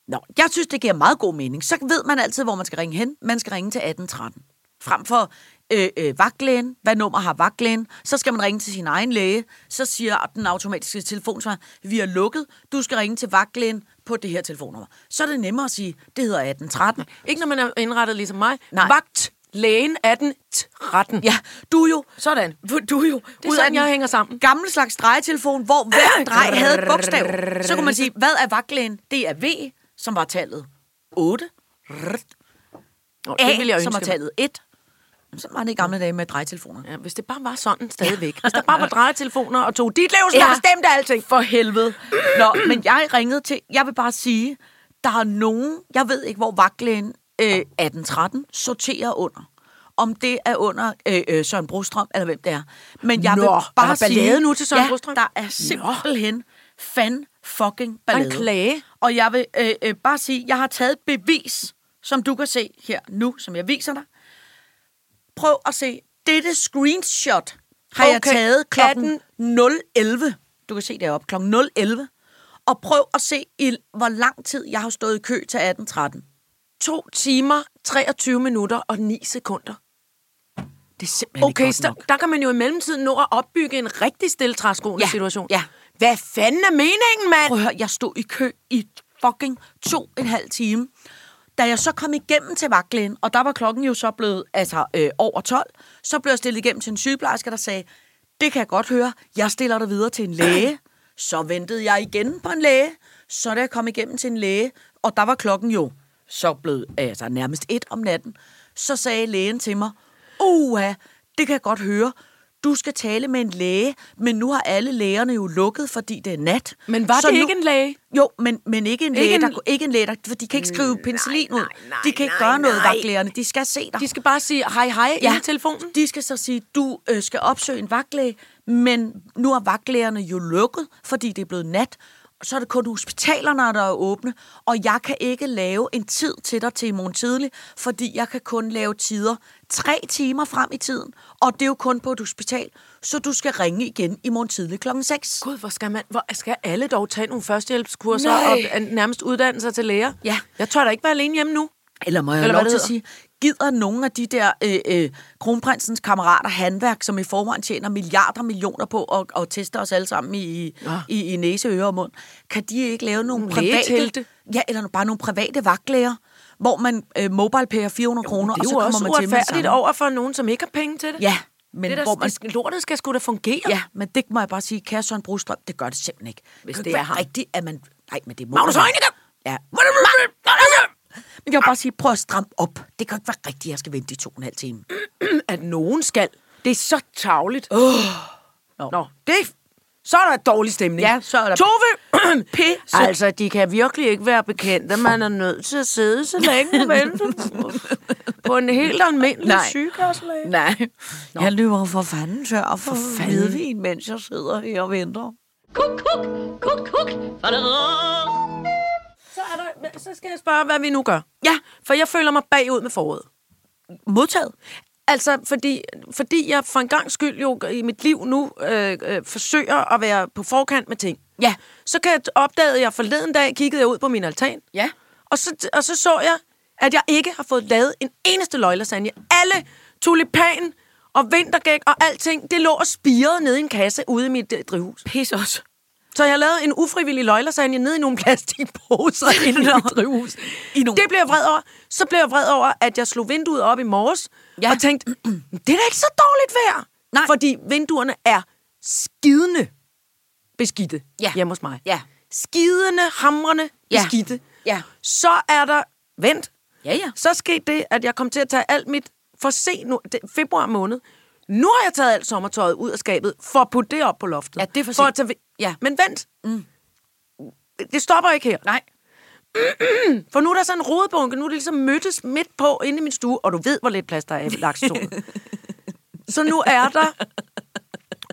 Nå, jeg synes, det giver meget god mening. Så ved man altid, hvor man skal ringe hen. Man skal ringe til 1813. Frem for øh, øh, vagtlægen. Hvad nummer har vagtlægen? Så skal man ringe til sin egen læge. Så siger den automatiske telefonsvar, vi er lukket. Du skal ringe til vagtlægen på det her telefonnummer. Så er det nemmere at sige, det hedder 1813.
Ikke når man er indrettet ligesom mig.
Nej.
Vagtlægen er den 13.
Ja, du er jo...
Sådan.
Hvor Du er jo
er sådan, jeg hænger sammen.
Gammel slags drejetelefon, hvor hver drej havde et bogstav. Så kunne man sige, hvad er vagtlægen? Det er V, som var tallet 8.
Nå,
A,
det ville jeg ønske.
som var
mig.
tallet 1. Jamen, Sådan var det i gamle dage med drejetelefoner.
Ja, hvis det bare var sådan stadigvæk. Hvis der bare var drejetelefoner og tog dit levelse, der bestemte.
alting. For helvede. Nå, men jeg ringede til... Jeg vil bare sige, der er nogen... Jeg ved ikke, hvor vagtlægen øh, 1813 sorterer under. Om det er under øh, øh, Søren Brostrøm, eller hvem det er. Men jeg
Nå,
vil
er
bare
der ballade
sige,
nu til Søren
ja,
Brostrøm?
der er simpelthen fan fucking ballade.
Og en klage.
Og jeg vil øh, øh, bare sige, jeg har taget et bevis, som du kan se her nu, som jeg viser dig. Prøv at se. Dette screenshot har okay. jeg
Okay.
taget klokken
18.
011. Du kan se det op klokken 011. Og prøv at se, i, hvor lang tid jeg har stået i kø til 18.13.
To timer, 23 minutter og 9 sekunder.
Det er simpelthen okay,
Okay,
ikke godt
så
nok.
der kan man jo i mellemtiden nå at opbygge en rigtig stille træskoende situation.
ja.
Hvad fanden er meningen, mand?
Prøv at høre, jeg stod i kø i fucking to og en halv time. Da jeg så kom igennem til vagtlægen, og der var klokken jo så blevet altså, øh, over 12, så blev jeg stillet igennem til en sygeplejerske, der sagde, det kan jeg godt høre, jeg stiller dig videre til en læge. Så ventede jeg igen på en læge, så da jeg kom igennem til en læge, og der var klokken jo så blevet altså, nærmest et om natten, så sagde lægen til mig, uha, det kan jeg godt høre, du skal tale med en læge, men nu har alle lægerne jo lukket, fordi det er nat.
Men var
så
det
nu-
ikke en læge?
Jo, men, men ikke en
Ikke
læge,
en- Mm,
der, ku- ikke en læge der, for de kan ikke skrive penicillin ud.
nej,
de kan ikke
nej,
gøre noget,
nej.
vagtlægerne. De skal se dig.
De skal bare sige hej hej ja. i telefonen.
De skal så sige, du øh, skal opsøge en vagtlæge, men nu er vagtlægerne jo lukket, fordi det er blevet nat. Og Så er det kun hospitalerne, der er åbne, og jeg kan ikke lave en tid til dig til i morgen tidlig, fordi jeg kan kun lave tider tre timer frem i tiden, og det er jo kun på et hospital, så du skal ringe igen i morgen tidlig klokken 6.
Gud, hvor skal man... Hvor skal alle dog tage nogle førstehjælpskurser
Nej.
og øh, nærmest uddanne sig til læger?
Ja.
Jeg tør da ikke være alene hjemme nu.
Eller må jeg
Eller
Eller
hvad
lov til at
det
sige, gider nogen af de der øh, øh, kronprinsens kammerater handværk, som i forvejen tjener milliarder og millioner på at, at teste os alle sammen i, ja. i, i næse, øre og mund, kan de ikke lave nogle
Nogle
private...
lægetelte?
Ja, eller bare nogle private vagtlæger, hvor man øh, mobilepayer 400 kroner,
det
og
er
så
jo
kommer
også
man til med det
uretfærdigt
samme.
over for nogen, som ikke har penge til det.
Ja, men
det der,
hvor man...
det, lortet skal sgu da fungere.
Ja, men det må jeg bare sige, kære Søren Brostrøm, det gør det simpelthen ikke. Hvis det,
det
det
er
ikke er
ham.
rigtigt, at man... Nej, men det må
Magnus
man-
Heunicke!
Ja. Men jeg vil bare sige, prøv at stramme op. Det kan ikke være rigtigt, at jeg skal vente i to og en halv time.
At nogen skal. Det er så tavligt. Oh. Nå. Nå, det er... Så er der et dårlig stemning.
Ja, så er der-
Tove!
Pisse.
Altså, de kan virkelig ikke være bekendt, at man er nødt til at sidde så længe og vente på- på en helt almindelig
Nej.
sygekasselæge.
Nej. Nå. Jeg løber for fanden tør og for fanden, mens jeg sidder her og venter.
Kuk, kuk, kuk, kuk. Fadadadam.
Så, er der, men så skal jeg spørge, hvad vi nu gør.
Ja.
For jeg føler mig bagud med foråret.
Modtaget.
Altså, fordi, fordi jeg for en gang skyld jo i mit liv nu øh, øh, forsøger at være på forkant med ting.
Ja.
Så kan jeg, opdagede jeg forleden dag, kiggede jeg ud på min altan,
Ja.
og så, og så så jeg, at jeg ikke har fået lavet en eneste løglasagne. Alle tulipan og vintergæk og alting, det lå og spirede nede i en kasse ude i mit øh, drivhus.
Pis os.
Så jeg lavede en ufrivillig løglasagne ned i nogle plastikposer inde i mit drivhus.
I nogle-
Det blev jeg vred over. Så blev jeg vred over, at jeg slog vinduet op i morges ja.
Ja.
og tænkte, det er da ikke så dårligt vejr.
Nej.
Fordi vinduerne er skidende beskidte ja.
Ja.
hjemme hos mig.
Ja.
Skidende, hamrende
Ja.
beskidte.
Ja.
Så er der... Vent.
Ja, ja.
Så skete det, at jeg kom til at tage alt mit... For se nu, det, er februar måned. Nu har jeg taget alt sommertøjet ud af skabet, for at putte det op på loftet.
Ja, det er for
for at
sent.
tage,
Ja.
Men vent. Mm. Det stopper ikke her.
Nej.
For nu er der sådan en rodebunke, nu er det ligesom mødtes midt på inde i min stue, og du ved, hvor lidt plads der er i lakstolen. så nu er der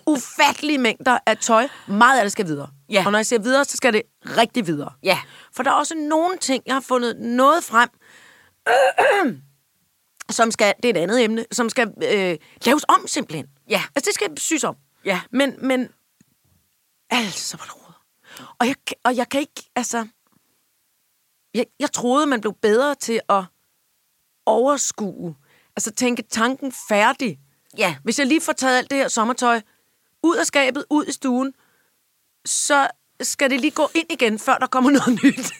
ufattelige mængder af tøj. Meget af det skal videre.
Ja.
Og når jeg siger videre, så skal det rigtig videre.
Ja.
For der er også nogle ting, jeg har fundet noget frem, som skal, det er et andet emne, som skal øh, laves om simpelthen.
Ja.
Altså det skal syes om.
Ja.
Men, men, altså, hvor er det rodet. Og jeg, kan- og jeg kan ikke, altså, jeg, jeg troede, man blev bedre til at overskue, altså tænke tanken færdig.
Ja.
Hvis jeg lige får taget alt det her sommertøj ud af skabet, ud i stuen, så skal det lige gå ind igen, før der kommer noget nyt.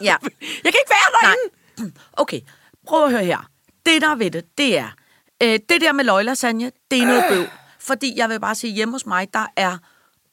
Ja.
Jeg kan ikke være
Nej.
derinde.
Okay, prøv at høre her. Det, der er ved det, det er... Øh, det der med løglasagne, det er noget bøv. Fordi jeg vil bare sige, hjemme hos mig, der er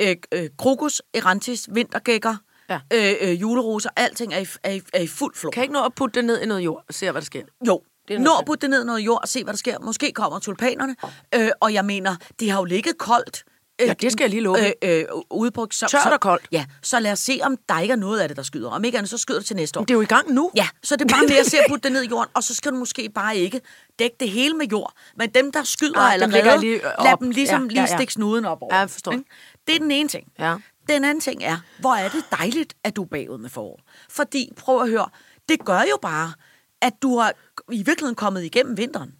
øh, øh, krokus, erantis, vintergækker,
Ja.
ja. øh, øh, juleroser, alting er i, er, i, er i fuld flor.
Kan jeg ikke nå at putte det ned i noget jord og se, hvad der sker?
Jo,
Det er
nå
noget
at putte det ned i noget jord og se, hvad der sker. Måske kommer tulipanerne. Øh, og jeg mener, det har jo ligget koldt. øh,
Ja, det skal jeg lige love.
Øh, øh, ude på, så,
Tørt
så-
og koldt.
Ja, så lad os se, om der ikke er noget af det, der skyder. Om ikke andet, så skyder det til næste år.
Det er jo i gang nu.
Ja, så det er bare mere at se at putte det ned i jorden, og så skal du måske bare ikke dække det hele med jord. Men dem, der skyder
Ah,
ah,
dem lægger jeg
allerede,
lige, øh,
lad
op.
dem ligesom
Ja,
ja,
ja,
lige
ja.
stikke snuden op over.
Ja, jeg forstår.
Ikke? Det er den ene ting.
Ja.
Den anden ting er, hvor er det dejligt, at du er bagud med forår. Fordi, prøv at høre, det gør jo bare, at du har i virkeligheden kommet igennem vinteren.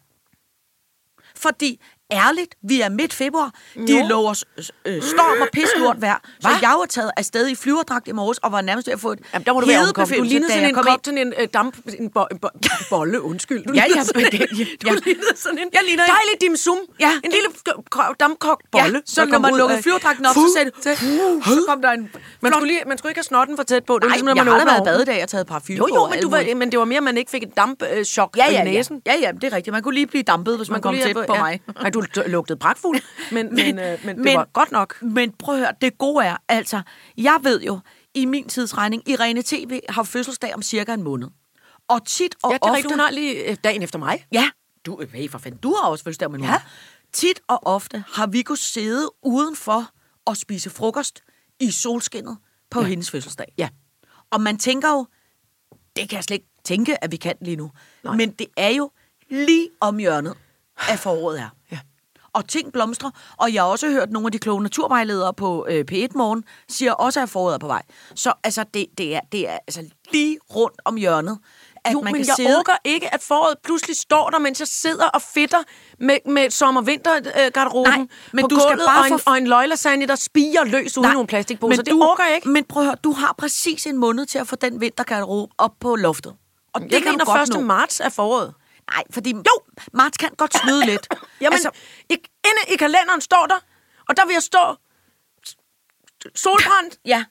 Fordi, ærligt, vi er midt februar, de
Jo.
lover s- s- øh, storm og pislort vejr, så jeg jo er taget afsted i flyverdragt i morges, og var nærmest ved at få et
Jamen, der må du være omkommet. Du
hedebefindelse,
lignede
da
sådan
jeg
en
kom
kop,
ind.
sådan en øh, damp, en, bo, en, bo, en bolle, undskyld. Du
Ja,
lignede
ja,
sådan en-
ja,
Du
ja.
lignede sådan en
Jeg ligner en-
dejlig dim sum.
Ja.
En lille k- k- dampkogt bolle.
Ja, så når man lukkede flyverdragten op, så sagde det,
"Uh,
"Huh", så kom der en...
Man skulle, lige, man skulle ikke have snotten for tæt på. Det var
Nej,
ligesom, når
jeg
man
har da
åbner
været
ovnen.
badedag og taget parfume
Jo,
på
jo,
og
men,
alt
du var,
muligt.
men det var mere, at man ikke fik et dampchok
Ja, ja,
i
ja.
næsen.
ja, ja, det er rigtigt. Man kunne lige blive dampet, hvis man,
Man
kom
kunne lige
tæt
have-
på
ja.
mig.
Nej, du l- lugtede pragtfuld, men, men, øh, men, det var godt nok.
Men prøv at høre, det gode er, altså, jeg ved jo, i min tidsregning, Irene TV har fødselsdag om cirka en måned. Og tit og
Ja, det er rigtigt.
ofte...
Hun har lige øh, dagen efter mig.
Ja, du, øh, hey, for fanden, du har også fødselsdag om en uge. Tit og ofte har vi kunnet sidde udenfor og spise frokost i solskinnet på ja. hendes fødselsdag.
Ja.
Og man tænker jo, det kan jeg slet ikke tænke, at vi kan lige nu. Nej. Men det er jo lige om hjørnet, at foråret er.
Ja.
Og ting blomstrer, og jeg har også hørt nogle af de kloge naturvejledere på øh, P1 Morgen siger også, at foråret er på vej. Så altså, det, det, er, det er altså lige rundt om hjørnet, at
Jo,
man
men
kan
jeg
sidde...
orker ikke, at foråret pludselig står der, mens jeg sidder og fitter med, med sommer-vinter-garderoben
Nej, men
på
du skal
gulvet,
bare
og en,
få-
og en løglasagne, der spiger løs uden
Nej,
nogle plastikposer.
men
det orker jeg ikke.
Men prøv at høre, du har præcis en måned til at få den vintergarderobe op på loftet. Og det
jeg
kan
mener,
du godt
1.
nå.
marts er foråret.
Nej, fordi jo, marts kan godt snyde lidt.
Jamen, altså, i, inde i kalenderen står der, og der vil jeg stå s- solbrændt,
ja.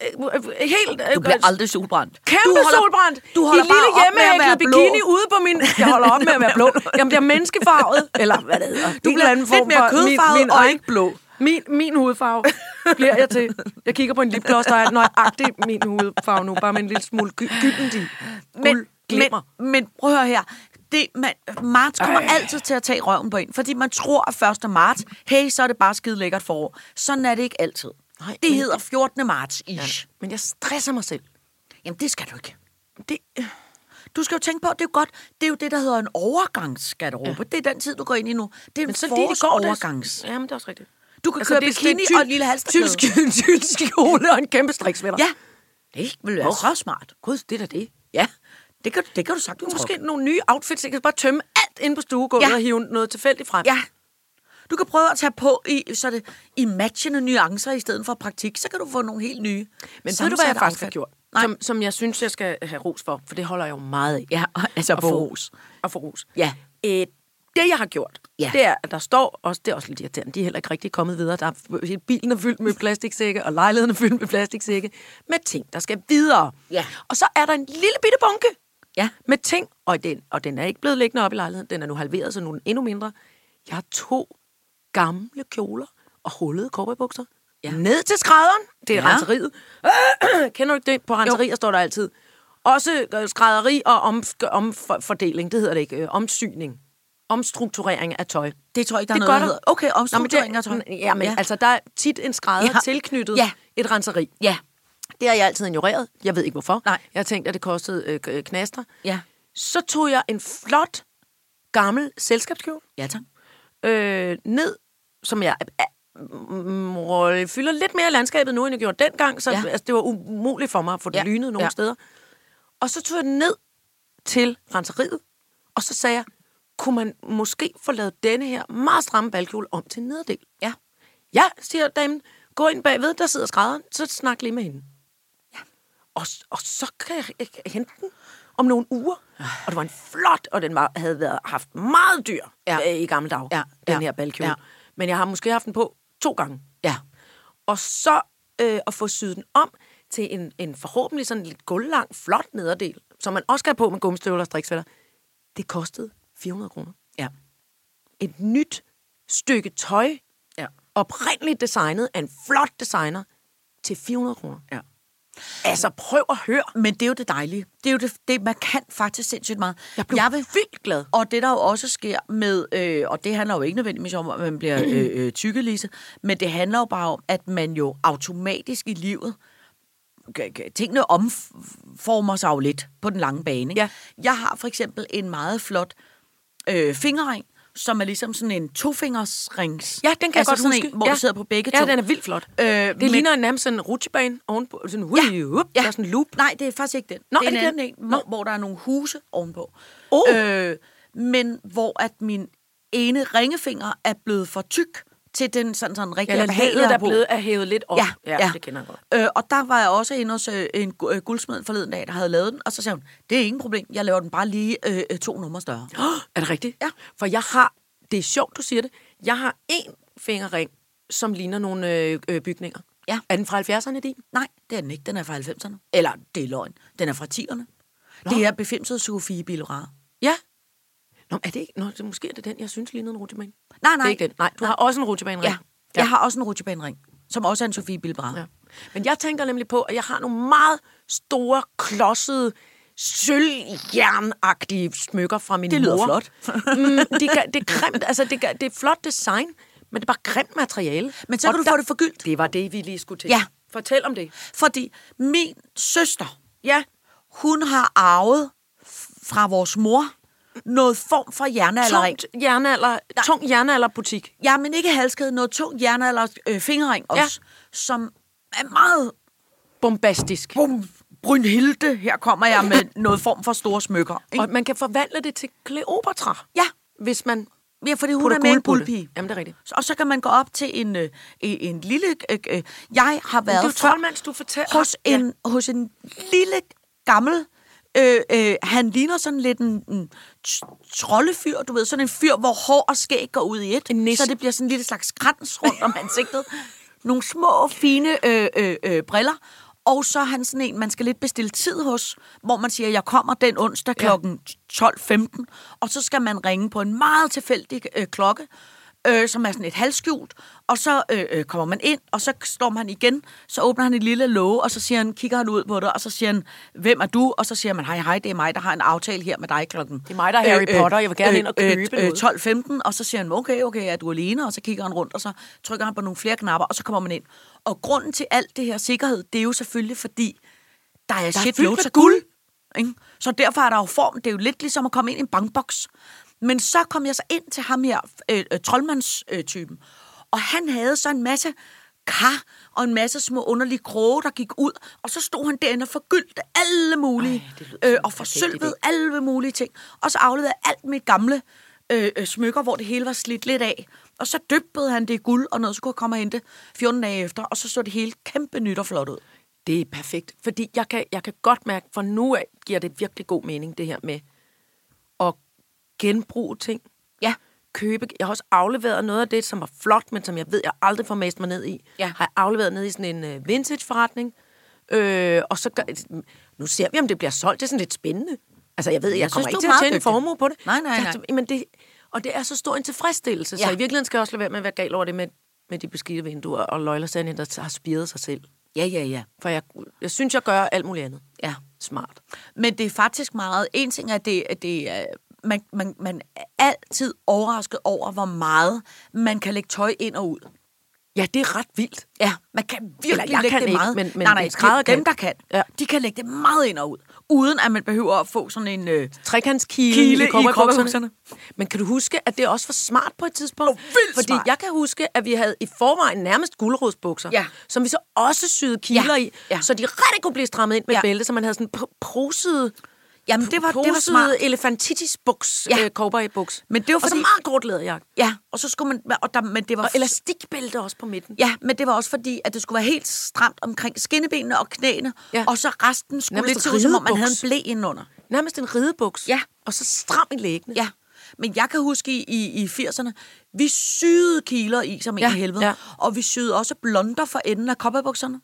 helt... øh,
Du bliver aldrig solbrændt.
Kæmpe
du holder,
solbrændt.
Du holder
I
bare
lille
op med at være
hjemmehæklet
blå.
bikini ude på min... Jeg holder op med at være blå. Jeg bliver menneskefarvet. Eller hvad det hedder.
Du
En
bliver
eller anden
lidt
form
mere
for- min-
kødfarvet
min
og
egen-
ikke blå.
Min, min hudfarve bliver jeg til. Jeg kigger på en lipgloss, der er nøjagtig min hudfarve nu. Bare med en lille smule gy- gyldent i.
men,
Guld glimmer.
Men, men prøv at høre her. Det, man, marts kommer Ej. altid til at tage røven på en, fordi man tror, at 1. marts, hey, så er det bare skide lækkert forår. Sådan er det ikke altid.
Nej,
Nej, det
men-
hedder 14. marts-ish.
Men jeg stresser mig selv.
Jamen, det skal du ikke.
Det,
Du skal jo tænke på, at det er jo godt, det er jo det, der hedder en overgangsskatteråbe. Ja. Det er den tid, du går ind i nu. Det er en
men så lige det går det.
forårsovergangs.
Jamen, det er også rigtigt.
Du kan altså, køre
det er sådan
bikini
en
og
tynd-
en lille halsterklæde.
tynd skjole- Tynd skjole og en kæmpe striksvætter.
Ja, det vil være
Åh.
oh. så smart.
Gud, det er da det.
Ja, det kan, det kan du sagtens
Måske
Måske.
nogle nye outfits. Jeg kan bare tømme alt ind på stuegulvet ja.
Ja.
og hive noget tilfældigt frem.
Ja. Du kan prøve at tage på i, så det, i matchende nuancer i stedet for praktik, så kan du få nogle helt nye.
Men ved du, hvad jeg faktisk har gjort?
Nej.
Som, som jeg synes, jeg skal have ros for, for det holder jeg jo meget af.
Ja, altså
At
på
få-
ros.
At få ros.
Ja.
Øh, det, jeg har gjort,
Ja.
det er, at der står også, det er også lidt irriterende, de er heller ikke rigtig kommet videre. Der er, bilen er fyldt med plastiksække, og lejligheden er fyldt med plastiksække, med ting, der skal videre.
Ja.
Og så er der en lille bitte bunke
Ja.
med ting, og den, og den er ikke blevet liggende op i lejligheden, den er nu halveret, så nu er den endnu mindre. Jeg har to gamle kjoler og hullede cowboybukser. Ja. Ned til skrædderen. Det er ja.
Ja.
renseriet. Kender du ikke det? På renserier står der altid. Også øh, skrædderi og omf- omfordeling. Det hedder det ikke. Øh, Omsyning. Omstrukturering af tøj.
Det tror jeg ikke, der
Det
er
er
noget,
godt
der hedder.
at-
Okay, omstrukturering af tøj.
Ja, men ja. altså, der er tit en skrædder ja.
Ja.
tilknyttet ja.
Ja.
et renseri.
Ja,
Det har jeg altid ignoreret. Jeg ved ikke, hvorfor.
Nej.
Jeg tænkte, at det kostede øh, k- knaster.
ja.
Så tog jeg en flot, gammel selskabskjole
Ja, tak.
øh, ned, som jeg øh, mm, rolle- fylder lidt mere i landskabet nu, end jeg gjorde dengang, så ja.
Ja.
altså, det var umuligt for mig at få det ja.
Ja,
lynet nogle ja.
ja.
steder. Og så tog jeg den ned til renseriet, og så sagde jeg, kunne man måske få lavet denne her meget stramme balkjole om til en nederdel?
Ja.
Ja, siger damen, gå ind bagved, der sidder skrædderen, så snak lige med hende. Ja. Og, s- og så kan jeg ikke hente den om nogle uger. Og det var en flot, og den var, havde været, haft meget dyr ja.
Ja.
øh, i gamle dage, ja.
Ja,
den
ja,
her balkjole. Ja.
ja.
Men jeg har måske haft den på to gange.
Ja.
Og så øh, at få syet den om til en, en forhåbentlig sådan lidt gulvlang, flot nederdel, som man også skal have på med gummistøvler og striksfælder. Det kostede 400 kroner.
Ja.
Et nyt stykke tøj,
Ja.
oprindeligt designet af en flot designer, til 400 kroner.
Ja.
Altså, prøv at høre.
Men det er jo det dejlige. Det er jo det, det man kan faktisk sindssygt meget.
Jeg blev vildt glad.
Og det, der jo også sker med, øh, og det handler jo ikke nødvendigvis om, at man bliver øh, øh, tykkelise, men det handler jo bare om, at man jo automatisk i livet, g- g- tingene omformer sig jo lidt på den lange bane. ikke?
Ja.
Jeg har for eksempel en meget flot øh, fingerring, som er ligesom sådan en tofingersrings.
Ja, den kan
altså
jeg godt
sådan
huske.
En, hvor
ja.
du sidder på begge
ja,
to.
Ja, den er vildt flot.
Øh,
det
men-
ligner nærmest sådan en rutsjebane ovenpå. Sådan, hui, ja. Up, ja. Der er sådan en loop.
Nej, det er faktisk ikke den.
Nå,
det er,
er det
en anden
den?
en,
Nå.
hvor, hvor der er nogle huse ovenpå.
Oh.
Øh, men hvor at min ene ringefinger er blevet for tyk til den sådan, sådan rigtig
Eller
behagelig
halet,
at
der er
have på.
blevet er hævet lidt op.
Ja,
ja,
ja.
det kender jeg godt.
Øh, og der var jeg også inde hos øh, en gu- øh, guldsmed forleden dag, der havde lavet den, og så sagde hun, det er ingen problem, jeg laver den bare lige øh, øh, to numre større.
Oh, er det rigtigt?
Ja.
For jeg har, det er sjovt, du siger det, jeg har en fingerring, som ligner nogle øh, øh, bygninger.
Ja.
Er den fra 70'erne din?
Nej, det er den ikke, den er fra 90'erne. Eller, det er løgn, den er fra 10'erne. Det er befimset Sofie Bilora.
Ja. Nå, men er det ikke? Nå, det, måske er det den, jeg synes lignede en rutsjebane.
Nej,
Det er
nej.
ikke den. Nej, du har også en rutsjebane
Ja. ja. Jeg har også en rutsjebanering, som også er en Sofie Bilbra.
Ja. Men jeg tænker nemlig på, at jeg har nogle meget store, klodsede, sølvjernagtige smykker fra min
Det lyder
mor.
flot.
mm, det, gør- det er grimt, altså det, gør- det er flot design, men det er bare grimt materiale.
Men så kan du få det forgyldt.
Det var det, vi lige skulle til.
Ja.
Fortæl om det.
Fordi min søster,
Ja.
hun har arvet f- fra vores mor noget form for jernaldering.
Tungt jernalder, tung jernalderbutik.
Ja, men ikke halskæde, noget tung jernalder, øh, fingerring
Ja.
også, som er meget
Bombastisk.
bum, Brynhilde, her kommer jeg med noget form for store smykker. Ikke?
Og man kan forvandle det til Kleopatra,
Ja,
hvis man
ja, fordi hun
putter
er med
guld
en
på
guldpige.
det. Jamen, det er rigtigt.
Og så kan man gå op til en, øh, en en lille... Øh, øh, jeg har
Det er jo
været før
troldmands, du fortæller.
hos, en, hos en lille gammel... Øh, øh, han ligner sådan lidt en, en t- troldefyr, du ved. Sådan en fyr, hvor hår og skæg går ud i et.
En nisse.
Så det bliver sådan en lille slags krans rundt om ansigtet. Nogle små, fine øh, øh, øh, briller. Og så er han sådan en, man skal lidt bestille tid hos, hvor man siger, jeg kommer den onsdag kl.
Ja.
12.15, og så skal man ringe på en meget tilfældig øh, klokke, øh, som er sådan et halvskjult, og så øh, øh, kommer man ind, og så står man igen, så åbner han et lille låge, og så siger han, kigger han ud på det, og så siger han, hvem er du? Og så siger man, hej hej, det er mig, der har en aftale her med dig klokken. Øh, Det
er mig, der er Harry Potter, jeg vil gerne ind og
øh,
købe noget.
12.15, og så siger han, okay, okay, er du alene? Og så kigger han rundt, og så trykker han på nogle flere knapper, og så kommer man ind. Og grunden til alt det her sikkerhed, det er jo selvfølgelig fordi, der er, der shit
fyldt
loads
med
af guld. Ikke? Så derfor er der jo form. Det er jo lidt ligesom at komme ind i en bankboks. Men så kom jeg så ind til ham her, øh, øh, troldmandstypen, øh, typen. og han havde så en masse kar og en masse små underlige kroge, der gik ud, og så stod han derinde og forgyldte alle mulige, Ej, øh, og forsølvede alle mulige ting, og så afleverede alt mit gamle øh, øh, smykker, hvor det hele var slidt lidt af, og så dyppede han det i guld, og noget, så kunne jeg komme og hente 14 dage efter, og så så det hele kæmpe nyt og flot ud.
Det er perfekt, fordi jeg kan, jeg kan godt mærke, for nu af giver det virkelig god mening, det her med at genbruge ting.
Ja.
Købe. Jeg har også afleveret noget af det, som var flot, men som jeg ved, jeg aldrig får mast mig ned i.
Ja.
Har jeg afleveret ned i sådan en øh, vintage-forretning. Øh, og så gør, nu ser vi, om det bliver solgt. Det er sådan lidt spændende. Altså, jeg ved, jeg, jeg kommer
synes,
ikke
du
til
er
at
meget
tjene en
dygtig.
formue på det.
Nej, nej,
Jeg- Men det, og det er så stor en tilfredsstillelse, ja. så
Ja.
i virkeligheden skal jeg også lade være med at være gal over det med, med de beskidte vinduer og løglersandien, der har spiret sig selv.
Ja, ja, ja.
For jeg, jeg synes, jeg gør alt muligt andet.
Ja.
Smart.
Men det er faktisk meget... En ting er, at det, at det er- man, man, man er altid overrasket over, hvor meget man kan lægge tøj ind og ud.
Ja, det er ret vildt.
Ja, man kan virkelig
jeg
lægge
kan
det
ikke,
meget.
men- men
nej, nej,
en skrædder
det er dem,
kan.
der kan,
Ja.
ja. de kan lægge det meget ind og ud, uden at man behøver at få sådan en... Øh,
Trekantskile
Kile
i
i
kobberbukserne.
cowboybukserne.
Men kan du huske, at det også var smart på et tidspunkt?
Åh, vildt
Fordi
smart.
jeg kan huske, at vi havde i forvejen nærmest guldrodsbukser,
Ja.
som vi så også syede kiler
Ja,
i,
ja.
så de rigtig kunne blive strammet ind med ja.
Ja.
bælte, så man havde sådan pr- prosede,
jamen, det var, det var smart.
prosede elefantitis buks, ja.
Ja.
øh, cowboybuks.
Men det var
Og så
fordi-
meget kort læderjakke.
Ja, og så skulle man... Og der, men det var
Og elastikbælte også på midten.
Ja, men det var også fordi, at det skulle være helt stramt omkring skinnebenene og knæene,
Ja.
ja. og så resten skulle
Nærmest
lidt se ud, som om man havde en
ridebuks.
blæ indenunder.
Nærmest en ridebuks.
Ja.
Og så stram i læggene.
Ja. Men jeg kan huske i, i, i 80'erne, vi syede kiler i som ja,
Ja,
en i helvede.
ja.
Ja. Og vi syede også blonder for enden af kopperbukserne.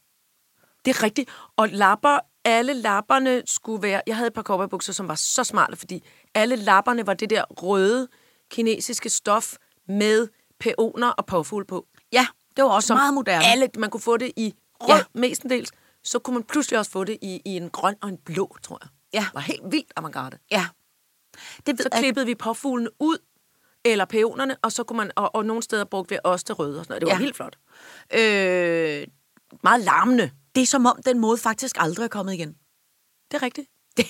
Det er rigtigt. Og lapper, alle lapperne skulle være... Jeg havde et par cowboybukser, som var så smarte, fordi alle lapperne var det der røde kinesiske stof med peoner og påfugle på.
Ja, det var også
Som
meget moderne.
Alle, man kunne få det i rød ja.
Ja.
mestendels. Så kunne man pludselig også få det i, i en grøn og en blå, tror jeg.
Ja.
Det var helt vildt avantgarde.
Ja. Det ved
Så
jeg ikke.
klippede vi påfuglene ud, eller peonerne, og så kunne man, og, og nogle steder brugte vi også det røde og sådan noget. Det var ja.
Ja.
helt flot.
Øh,
Meget larmende.
det er som om, den måde faktisk aldrig er kommet igen.
Det er rigtigt.
Det,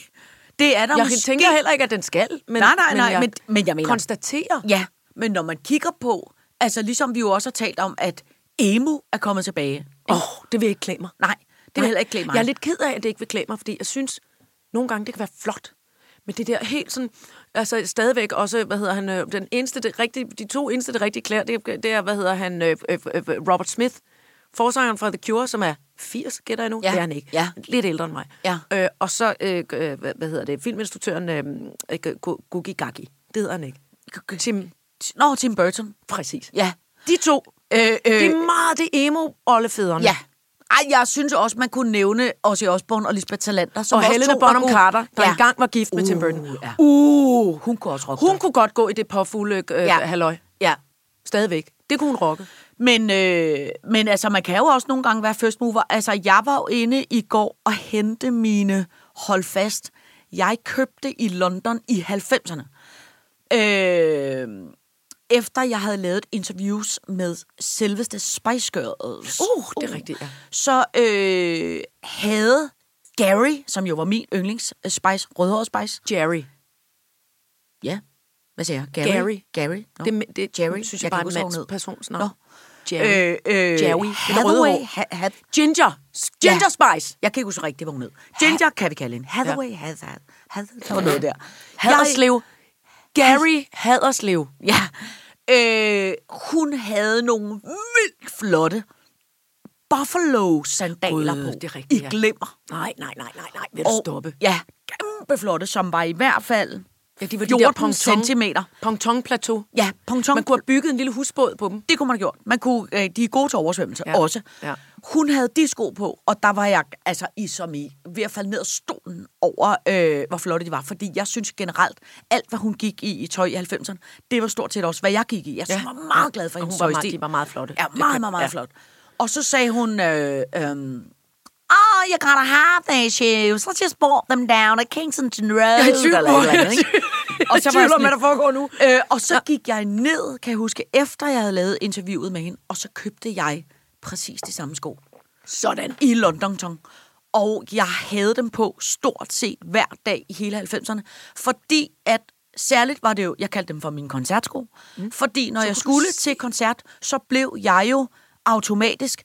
det er der
jeg
måske...
tænker heller ikke, at den skal. Men,
Nej, nej, nej,
men, jeg,
men- men jeg mener-
Konstaterer.
Ja, men når man kigger på... Altså ligesom vi jo også har talt om, at emo er kommet tilbage.
Åh, oh, det vil jeg ikke klæde mig.
Nej, det vil
Nej.
heller ikke klæde mig.
Jeg er lidt ked af, at det ikke vil klæde mig, fordi jeg synes, nogle gange det kan være flot. Men det der helt sådan, altså stadigvæk også, hvad hedder han, øh, den eneste, det rigtige, de to eneste, det rigtige klæder, det, er- det er, hvad hedder han, øh, øh, øh, Robert Smith, forsangeren fra The Cure, som er 80, gætter jeg nu?
Ja.
Det er han ikke.
Ja.
Lidt ældre end mig.
Ja.
Øh, og så, øh, øh, hvad, hvad hedder det, filminstruktøren øh, øh, Gu- Gugi Gagi. Det hedder han ikke. Tim,
Nå, Tim Burton.
præcis.
Ja.
De to.
Øh, øh,
Det er meget det emo-ollefædrene.
Ja. Ej, jeg synes også, man kunne nævne Ozzy Osbourne og Lisbeth Salander. Som
og
også
Helena
to
Bonham
var gode.
Carter, der ja. engang var gift med uh, Tim Burton.
Ja.
Uh,
Uh, hun kunne også rocke
hun
dig.
kunne godt gå i det påfugle øh, ja.
Ja.
halløj.
Ja.
Stadigvæk. Det kunne hun rocke.
Men, øh, men altså, man kan jo også nogle gange være first mover. Altså, jeg var jo inde i går og hente mine hold fast jeg købte i London i 90'erne. Øh, efter jeg havde lavet interviews med selveste Spice Girls.
Uh, det er rigtigt, ja.
Så øh, havde Gary, som jo var min yndlings øh, Spice, rødhåret Spice.
Jerry.
Ja. Hvad siger jeg? Gary?
Gary.
Gary. Nå.
Det, er- det
Jerry.
Jerry. synes jeg,
Jeg
bare
kan
er
ikke
et
huske, hvad hun hed.
mandspersons
Nå.
navn. Jerry.
Øh,
Jerry. Det er
Hathaway.
rødhåret.
Ha- ha-
Ginger. Ginger Spice.
jeg kan ikke huske rigtigt, hvad hun hed. Ginger kan vi kalde hende. Hathaway, ja. Hath, Hath, Hath, der var noget der.
Haderslev. Gary Haderslev.
Jeg, ja. Øh, hun havde nogle vildt flotte buffalo-sandaler
Gud,
på.
det er rigtigt,
I
ja.
glimmer.
Nej, nej, nej, nej, nej. Vil du stoppe?
Ja, kæmpe flotte, som var i hvert fald
Ja, de var de
14
der ponton,
centimeter.
ponton plateau.
Ja, ponton.
Man kunne have bygget en lille husbåd på dem.
Det kunne man have gjort. Man kunne, øh, de er gode til oversvømmelse
Ja,
ja. også.
ja.
Ja. Hun havde de sko på, og der var jeg altså i som i ved at falde ned af stolen over, øh, hvor flotte de var. Fordi jeg synes generelt, alt hvad hun gik i i tøj i 90'erne, det var stort set også, hvad jeg gik i. Jeg
Ja.
ja. var meget glad for
Og hun
hendes
var meget-
tøjstil.
de var meget flotte.
Ja,
Det kan-
meget, meget, meget
ja.
ja. flot. Og så sagde hun... Øh, øh, Oh, you gotta have these shoes. Let's just bought them down at Kensington Road. Jeg
er i tvivl om-
og så
Jeg
var jeg
tvivler om,
sådan,
hvad der foregår nu.
Øh, og så gik jeg ned, kan jeg huske, efter jeg havde lavet interviewet med hende, og så købte jeg præcis de samme sko
Sådan.
i London Tong. Og jeg havde dem på stort set hver dag i hele 90'erne, fordi at særligt var det jo, jeg kaldte dem for mine koncertsko, mm. fordi når jeg skulle til koncert, så blev jeg jo automatisk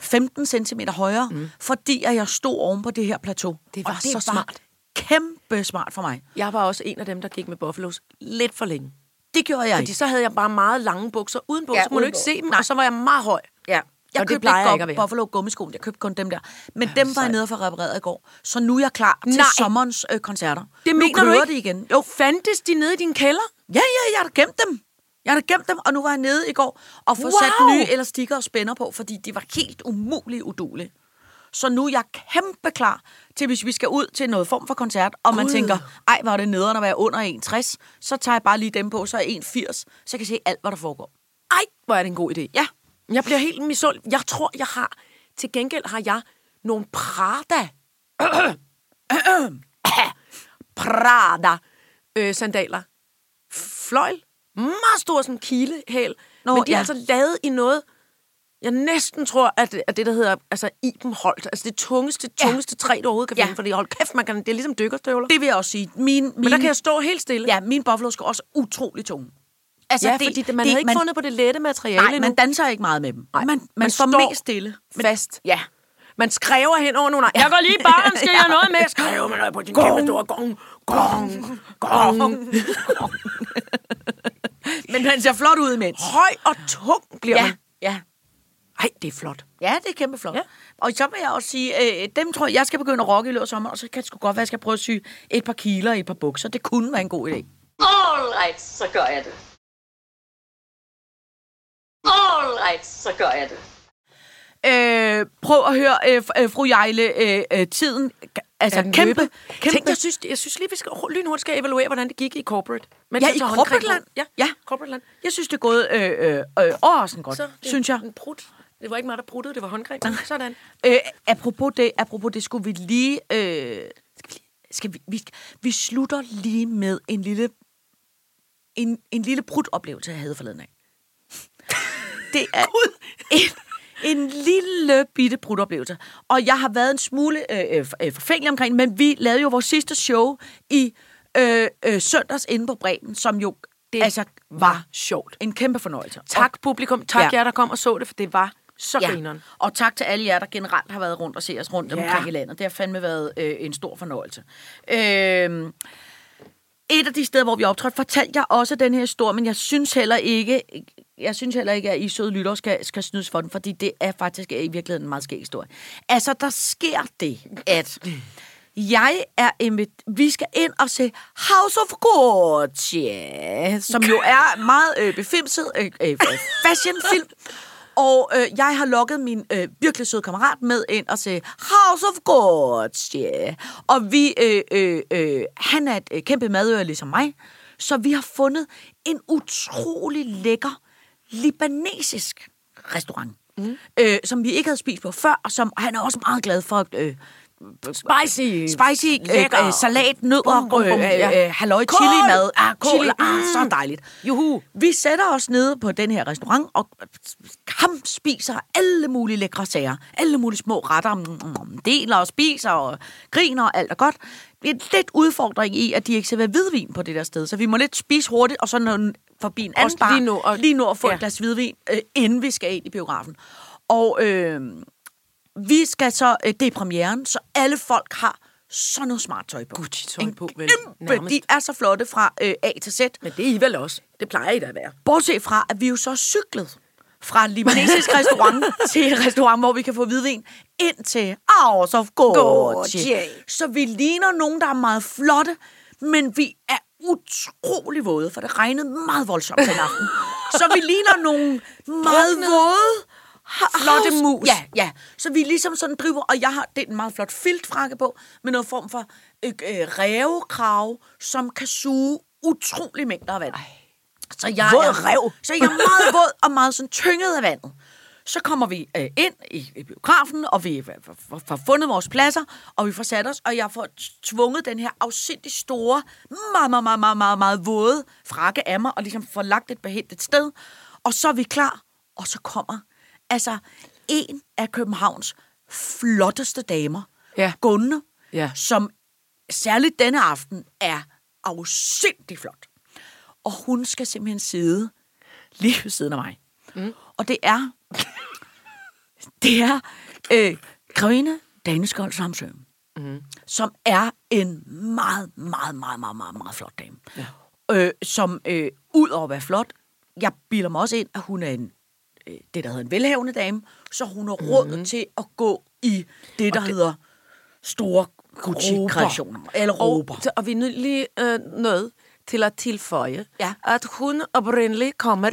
15 cm højere, mm. fordi at jeg stod oven på det her plateau.
Det
Og
var så smart.
kæmpe smart for mig.
Jeg var også en af dem, der gik med buffalos lidt for længe.
Det gjorde jeg
Fordi så havde jeg bare meget lange bukser uden bukser, ja,
Ja,
så kunne du
uden
ikke
bukser.
se dem, Nej. og så var jeg meget høj.
Ja. Jeg
Og det
købte
plejer jeg
ikke,
ikke at
ikke
være.
Buffalo gummiskoen, jeg købte kun dem der. Men dem var jeg nede for repareret i går, så nu er jeg klar til
Nej.
sommerens øh, koncerter.
Det
nu
mener du
kører
ikke?
det igen.
Jo, fandtes de nede i din kælder?
Ja, ja, jeg har da gemt dem. Jeg har da gemt dem, og nu var jeg nede i går og få wow. sat
Wow!
nye elastikker og spænder på, fordi de var helt umulige udulige. Så nu er jeg kæmpe klar til, hvis vi skal ud til noget form for koncert, og man
Gud.
tænker, ej, hvor er det nederen at være under 1,60, så tager jeg bare lige dem på, så er jeg 1,80, så jeg kan se alt, hvad der foregår.
Ej, hvor er det en god idé.
Ja.
Jeg bliver helt misund. Jeg tror, jeg har... Til gengæld har jeg nogle Prada... Prada øh, sandaler. Fløjl. Meget stor som kilehæl.
Nå,
Men de er
ja.
altså lavet i noget... Jeg næsten tror, at det, at det der hedder altså, Iben Holt. Altså det tungeste, tungeste træ, du overhovedet kan
Ja.
finde. Fordi hold kæft, man kan, det er ligesom dykkerstøvler.
Det vil jeg også sige. Min, min,
Men der kan jeg stå helt stille.
Ja, min buffalo skal også utrolig tunge.
altså, ja det, fordi det, man det, havde ikke man, fundet på det lette materiale
Nej,
endnu.
man danser ikke meget med dem.
Nej,
man, man,
man
man står
står
mest stille.
fast.
Ja.
Man skræver hen over nogle... Jeg går lige i baren, skal jeg have noget med? Skræver man noget på din kæmpe store gong, gong, gong.
Men man ser flot ud imens.
Høj og tung bliver
Ja,
man.
ja.
Ej, det er flot.
Ja, det er kæmpe flot.
Ja.
Ja. Og så vil jeg også sige, øh, dem tror jeg, jeg skal begynde at rocke i løbet af sommeren, og så kan det sgu godt være, at jeg skal prøve at sy et par kiler i et par bukser. Det kunne være en god idé.
Alright, så gør jeg det. Alright, så gør jeg det.
Øh, prøv at høre, øh, f- øh, fru Jejle, øh, øh, tiden, altså
Er
kæmpe,
den
kæmpe,
løbet? Tænk, jeg synes, jeg synes lige, vi skal lynhurtigt skal evaluere, hvordan det gik i corporate. Men
Ja, i corporate land.
Ja, ja.
Ja.
corporate land.
Jeg synes, det er gået øh, øh, øh, overraskende godt,
Så, det er
synes jeg.
En prut. Det var ikke mig, der pruttede, det var håndgreb. Sådan.
Øh, apropos det, apropos det, skulle vi lige... Øh, skal vi, lige- skal vi, vi, vi slutter lige med en lille... En, en lille brudt-oplevelse, jeg havde forleden af. Det er en, en lille bitte brudt-oplevelse. Og jeg har været en smule øh, øh, øh, forfængelig omkring, men vi lavede jo vores sidste show i øh, øh, søndags inde på Bremen, som jo
Det
det altså var
sjovt.
en kæmpe fornøjelse.
Tak publikum. Tak
Ja.
jer, der kom og så det, for det var så
Ja.
grineren.
Og tak til alle jer, der generelt har været rundt og set os rundt
Ja.
ja. omkring i landet. Det har fandme været øh, en stor fornøjelse. Øh, et af de steder, hvor vi optrådte, fortalte jeg også den her historie, men jeg synes heller ikke, jeg synes heller ikke, at I søde lyttere skal, skal snydes for den, fordi det er faktisk i virkeligheden en meget skæg historie. Altså, der sker det, at jeg er invit- vi skal ind og se House of Gucci, som jo er meget øh, befimset øh, øh, fashionfilm. Og øh, jeg har lokket min øh, virkelig søde kammerat med ind og se House of Gucci. Og vi, øh, øh, øh, han er et øh, kæmpe madører ligesom mig, så vi har fundet en utrolig lækker libanesisk restaurant, mm. øh, som vi ikke havde spist på før, og som og han er også meget glad for øh,
Spicy.
spicy
Lækker.
øh, øh, salat, nødder,
Bum, bum, bum,
øh,
ja.
øh, øh, halløj,
Kål!
chili mad. Ah, kål,
Chili,
chili. Ah,
mm.
så dejligt.
Juhu.
Vi sætter os nede på den her restaurant og ham spiser alle mulige lækre sager. Alle mulige små retter. Mm, mm, Deler og spiser og griner og alt er godt. Det er lidt udfordring i, at de ikke serverer hvidvin på det der sted. Så vi må lidt spise hurtigt, og så nå den forbi en anden
Også
bar.
lige nå at-
lige nå at få ja.
Ja.
et glas hvidvin, øh, inden vi skal ind i biografen. Og øh, vi skal så... Øh, det er premieren, så alle folk har sådan noget smart tøj på.
Gucci-tøj
En
på, vel,
Kæmpe,
nærmest.
de er så flotte fra øh, A til Z.
Men det er I vel også. Det plejer I da at være.
Bortset fra, at vi jo så er cyklet fra en libanesisk restaurant til et restaurant, hvor vi kan få hvidvin, ind til Hours of Gorge.
Gorge.
Så vi ligner nogen, der er meget flotte, men vi er utrolig våde, for det regnede meget voldsomt den aften. så vi ligner nogle meget våde, ha-
Flotte
house-
mus.
Ja, ja. Så vi ligesom sådan driver, og jeg har det er en meget flot filtfrakke på, med noget form for øh, øh, rævekrav, som kan suge utrolig mængder af vand. Så jeg
Våd
er,
rev.
Så jeg er meget våd og meget sådan tynget af vandet. Så kommer vi øh, ind i, i biografen, og vi øh, f- f- f- får fundet vores pladser, og vi får sat os, og jeg får tvunget den her afsindig store, meget, meget, meget, meget, meget, meget våde frakke af mig, og ligesom får lagt et behændt et sted. Og så er vi klar, og så kommer altså en af Københavns flotteste damer,
Ja.
Gunne,
Ja.
som særligt denne aften er afsindig flot. Og hun skal simpelthen sidde lige ved siden af mig. Mm. Og det er, det er øh, Grevinde Daneskold Samsø, mm. som er en meget, meget, meget, meget, meget, meget flot dame. Ja. Øh, som øh, ud over at være flot, jeg bilder mig også ind, at hun er en øh, det, der hedder en velhavende dame, så hun har råd mm. til at gå i det, der det... hedder store Gucci-kreationer. Eller råber.
Og, og vi er nødt lige øh, nødt til at tilføje,
Ja.
at hun oprindeligt kommer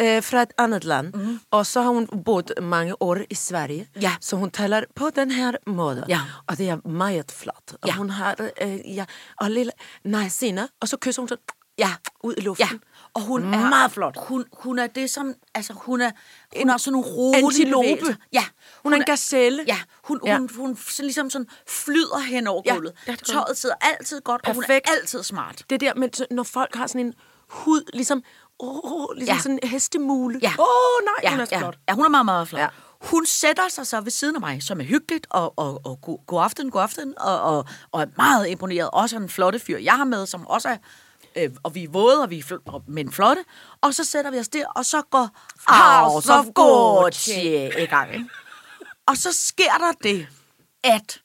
øh, fra et andet land, mm. og så har hun boet mange år i Sverige,
Mhm. Ja.
så hun taler på den her måde,
Ja.
og det er meget flot. Og
Ja.
hun har, øh, ja, og lille, nej, Sina, og så kysser hun så, ja, ud i luften.
Ja, og hun er
Mm. Meget flot.
Hun, hun er det som, altså hun er, hun har sådan nogle rolige
antilope.
bevægelser. Ja,
Hun er en gazelle.
Ja, hun,
Ja.
ja. hun, hun, sådan, ligesom sådan flyder hen over
Ja,
gulvet.
ja,
Ja,
det gør hun.
Tøjet sidder altid godt, Perfekt. og hun
Perfekt.
er altid smart.
Det der, men så- når folk har sådan en hud, ligesom, åh, oh, ligesom ja.
Ja.
sådan en hestemule.
Ja.
Åh, oh, nej,
ja,
hun er så
ja.
flot.
Ja, hun er meget, meget flot.
Ja.
Ja. Hun sætter sig så ved siden af mig, som er hyggeligt, og, og, og god, god aften, god aften, og, og, og er meget imponeret. Også af den flotte fyr, jeg har med, som også er, øh, og vi er våde, og vi er fl- og, men flotte. Og så sætter vi os der, og så går House of Gucci i gang. Ikke? Og så sker der det, at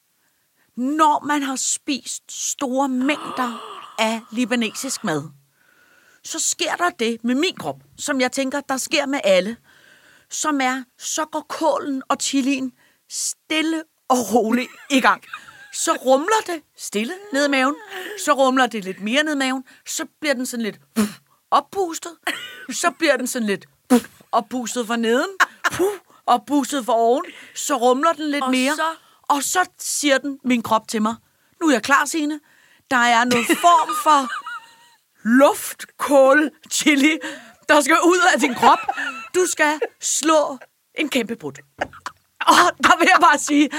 når man har spist store mængder af libanesisk mad, så sker der det med min krop, som jeg tænker, der sker med alle, som er, så går kålen og chilien stille og roligt i gang. Så rumler det stille ned i maven, så rumler det lidt mere ned i maven, så bliver den sådan lidt oppustet, så bliver den sådan lidt oppustet for neden, puh, oppustet for oven, så rumler den lidt
Og
mere,
så-
og så siger den min krop til mig, nu er jeg klar, Signe, der er noget form for luftkål chili, der skal ud af din krop. Du skal slå en kæmpe brud. Og der vil jeg bare sige,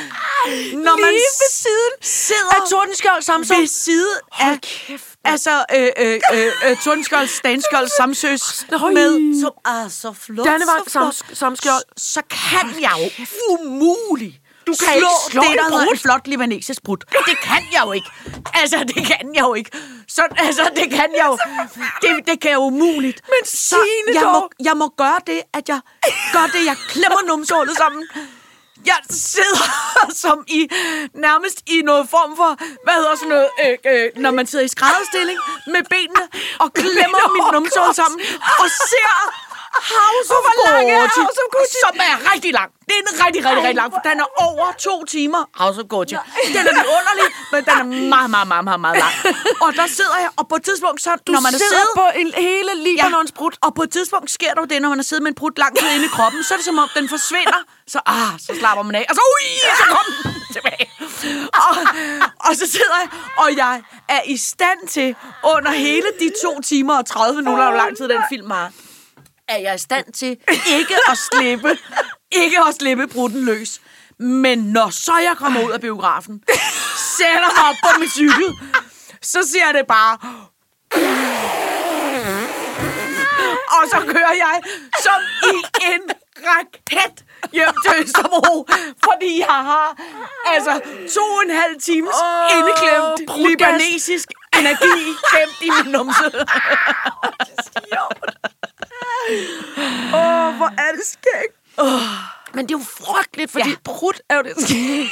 når man
Lige ved
siden sidder
af Tordenskjold Samsøe.
ved side af, kæft, altså øh, øh, øh, øh, Tordenskjold, Stanskjold, Samsøs
Nøj.
med, som er så flot,
Dannevang,
så flot.
Sams- Samskjold.
S- Så kan jeg jo umuligt du
kan ikke slå
det,
en
der hedder
brud.
en flot libanesisk brud. Det kan jeg jo ikke. Altså, det kan jeg jo ikke. Så, altså, det kan jeg jo. Det, det kan jeg umuligt. Men så
Signe
jeg
dog.
må, jeg må gøre det, at jeg gør det, jeg klemmer numsehullet sammen. Jeg sidder som i nærmest i noget form for, hvad hedder sådan noget, øh, øh, når man sidder i skrædderstilling med benene og klemmer
Benene
mit
over
numsehul sammen og ser House of
hvor lang er
Gucci,
House of Gucci?
som er rigtig lang. Det er en rigtig, rigtig, rigtig lang, for den er over to timer, House of Gucci. Den er lidt underlig, men den er meget, meget, meget, meget, meget lang. Og der sidder jeg, og på et tidspunkt, så, når man er siddet,
på en, hele Libanons brud.
og på et tidspunkt sker der jo det, når man har siddet med en brud lang tid inde i kroppen, så er det som om, den forsvinder. Så, ah, så slapper man af, og så, ui, så kom den tilbage. Og, og så sidder jeg, og jeg er i stand til, under hele de to timer og 30 minutter, hvor lang tid den film har, er jeg i stand til ikke at slippe, ikke at slippe bruden løs. Men når så jeg kommer ud af biografen, sætter mig op på min cykel, så siger det bare... Og så kører jeg som i en raket hjem til Østerbro, fordi jeg har altså to og en halv times
Åh,
oh, indeklemt
brudgas.
libanesisk energi gemt i min numse.
Åh, hvor er det skægt. Men det er jo frygteligt, fordi ja. prut er jo det Jamen,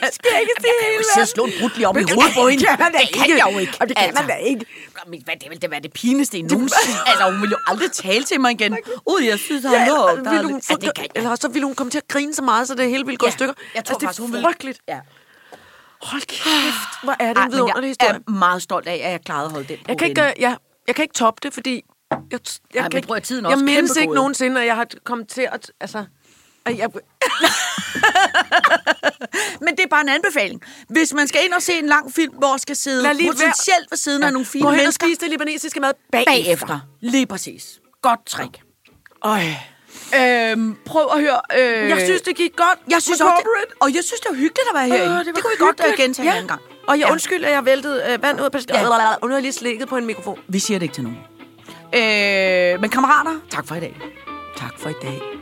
det skal ikke det hele.
sidde og slå en brut lige om i hovedet på hende.
Det kan man da
Det kan
ikke.
jeg jo ikke.
Og det kan
Altså.
man da ikke.
Men hvad, det ville da være det pineste i nogensinde. altså, hun ville jo aldrig tale til mig igen. Ud, jeg synes, han lå.
eller,
der er
ville Altså.
lidt-
hun,
altså,
Ja, det kan jeg.
eller også så ville hun komme til at grine så meget, så det hele ville gå i stykker.
Jeg tror
altså, det er
faktisk, hun ville...
frygteligt.
Ja.
Hold kæft, hvor er det
Ej,
en
Ah, men
vidunderlig
jeg
historie.
er meget stolt af, at jeg klarede at holde den
Jeg kan ikke, øh, ja, jeg kan ikke toppe det, fordi... Jeg, jeg,
men
kan
prøv at tiden er
jeg
også
mindes
kæmpe
ikke
god.
nogensinde, at jeg har kommet til at... Altså, at jeg,
Men det er bare en anbefaling. Hvis man skal ind og se en lang film, hvor skal sidde
Lad lige være-
potentielt ved siden ja. af nogle fine
gå hen og
mennesker.
spise det libanesiske mad bagefter.
Bagefter. Lige præcis. Godt trick.
Øj.
Øhm, prøv at høre. Øh,
Jeg synes, det gik godt.
jeg synes
med
også,
corporate.
det, og jeg synes, det var hyggeligt at være herinde.
var
det, det kunne vi godt øh,
hyggeligt.
gentage ja. en gang.
Og jeg
Ja.
ja. undskyld, at jeg væltede øh, vand ud af pastillet.
Ja.
Ja. Og nu har jeg lige slikket på en mikrofon.
Vi siger det ikke til nogen. Øh, men kammerater, tak for i dag.
Tak for i dag.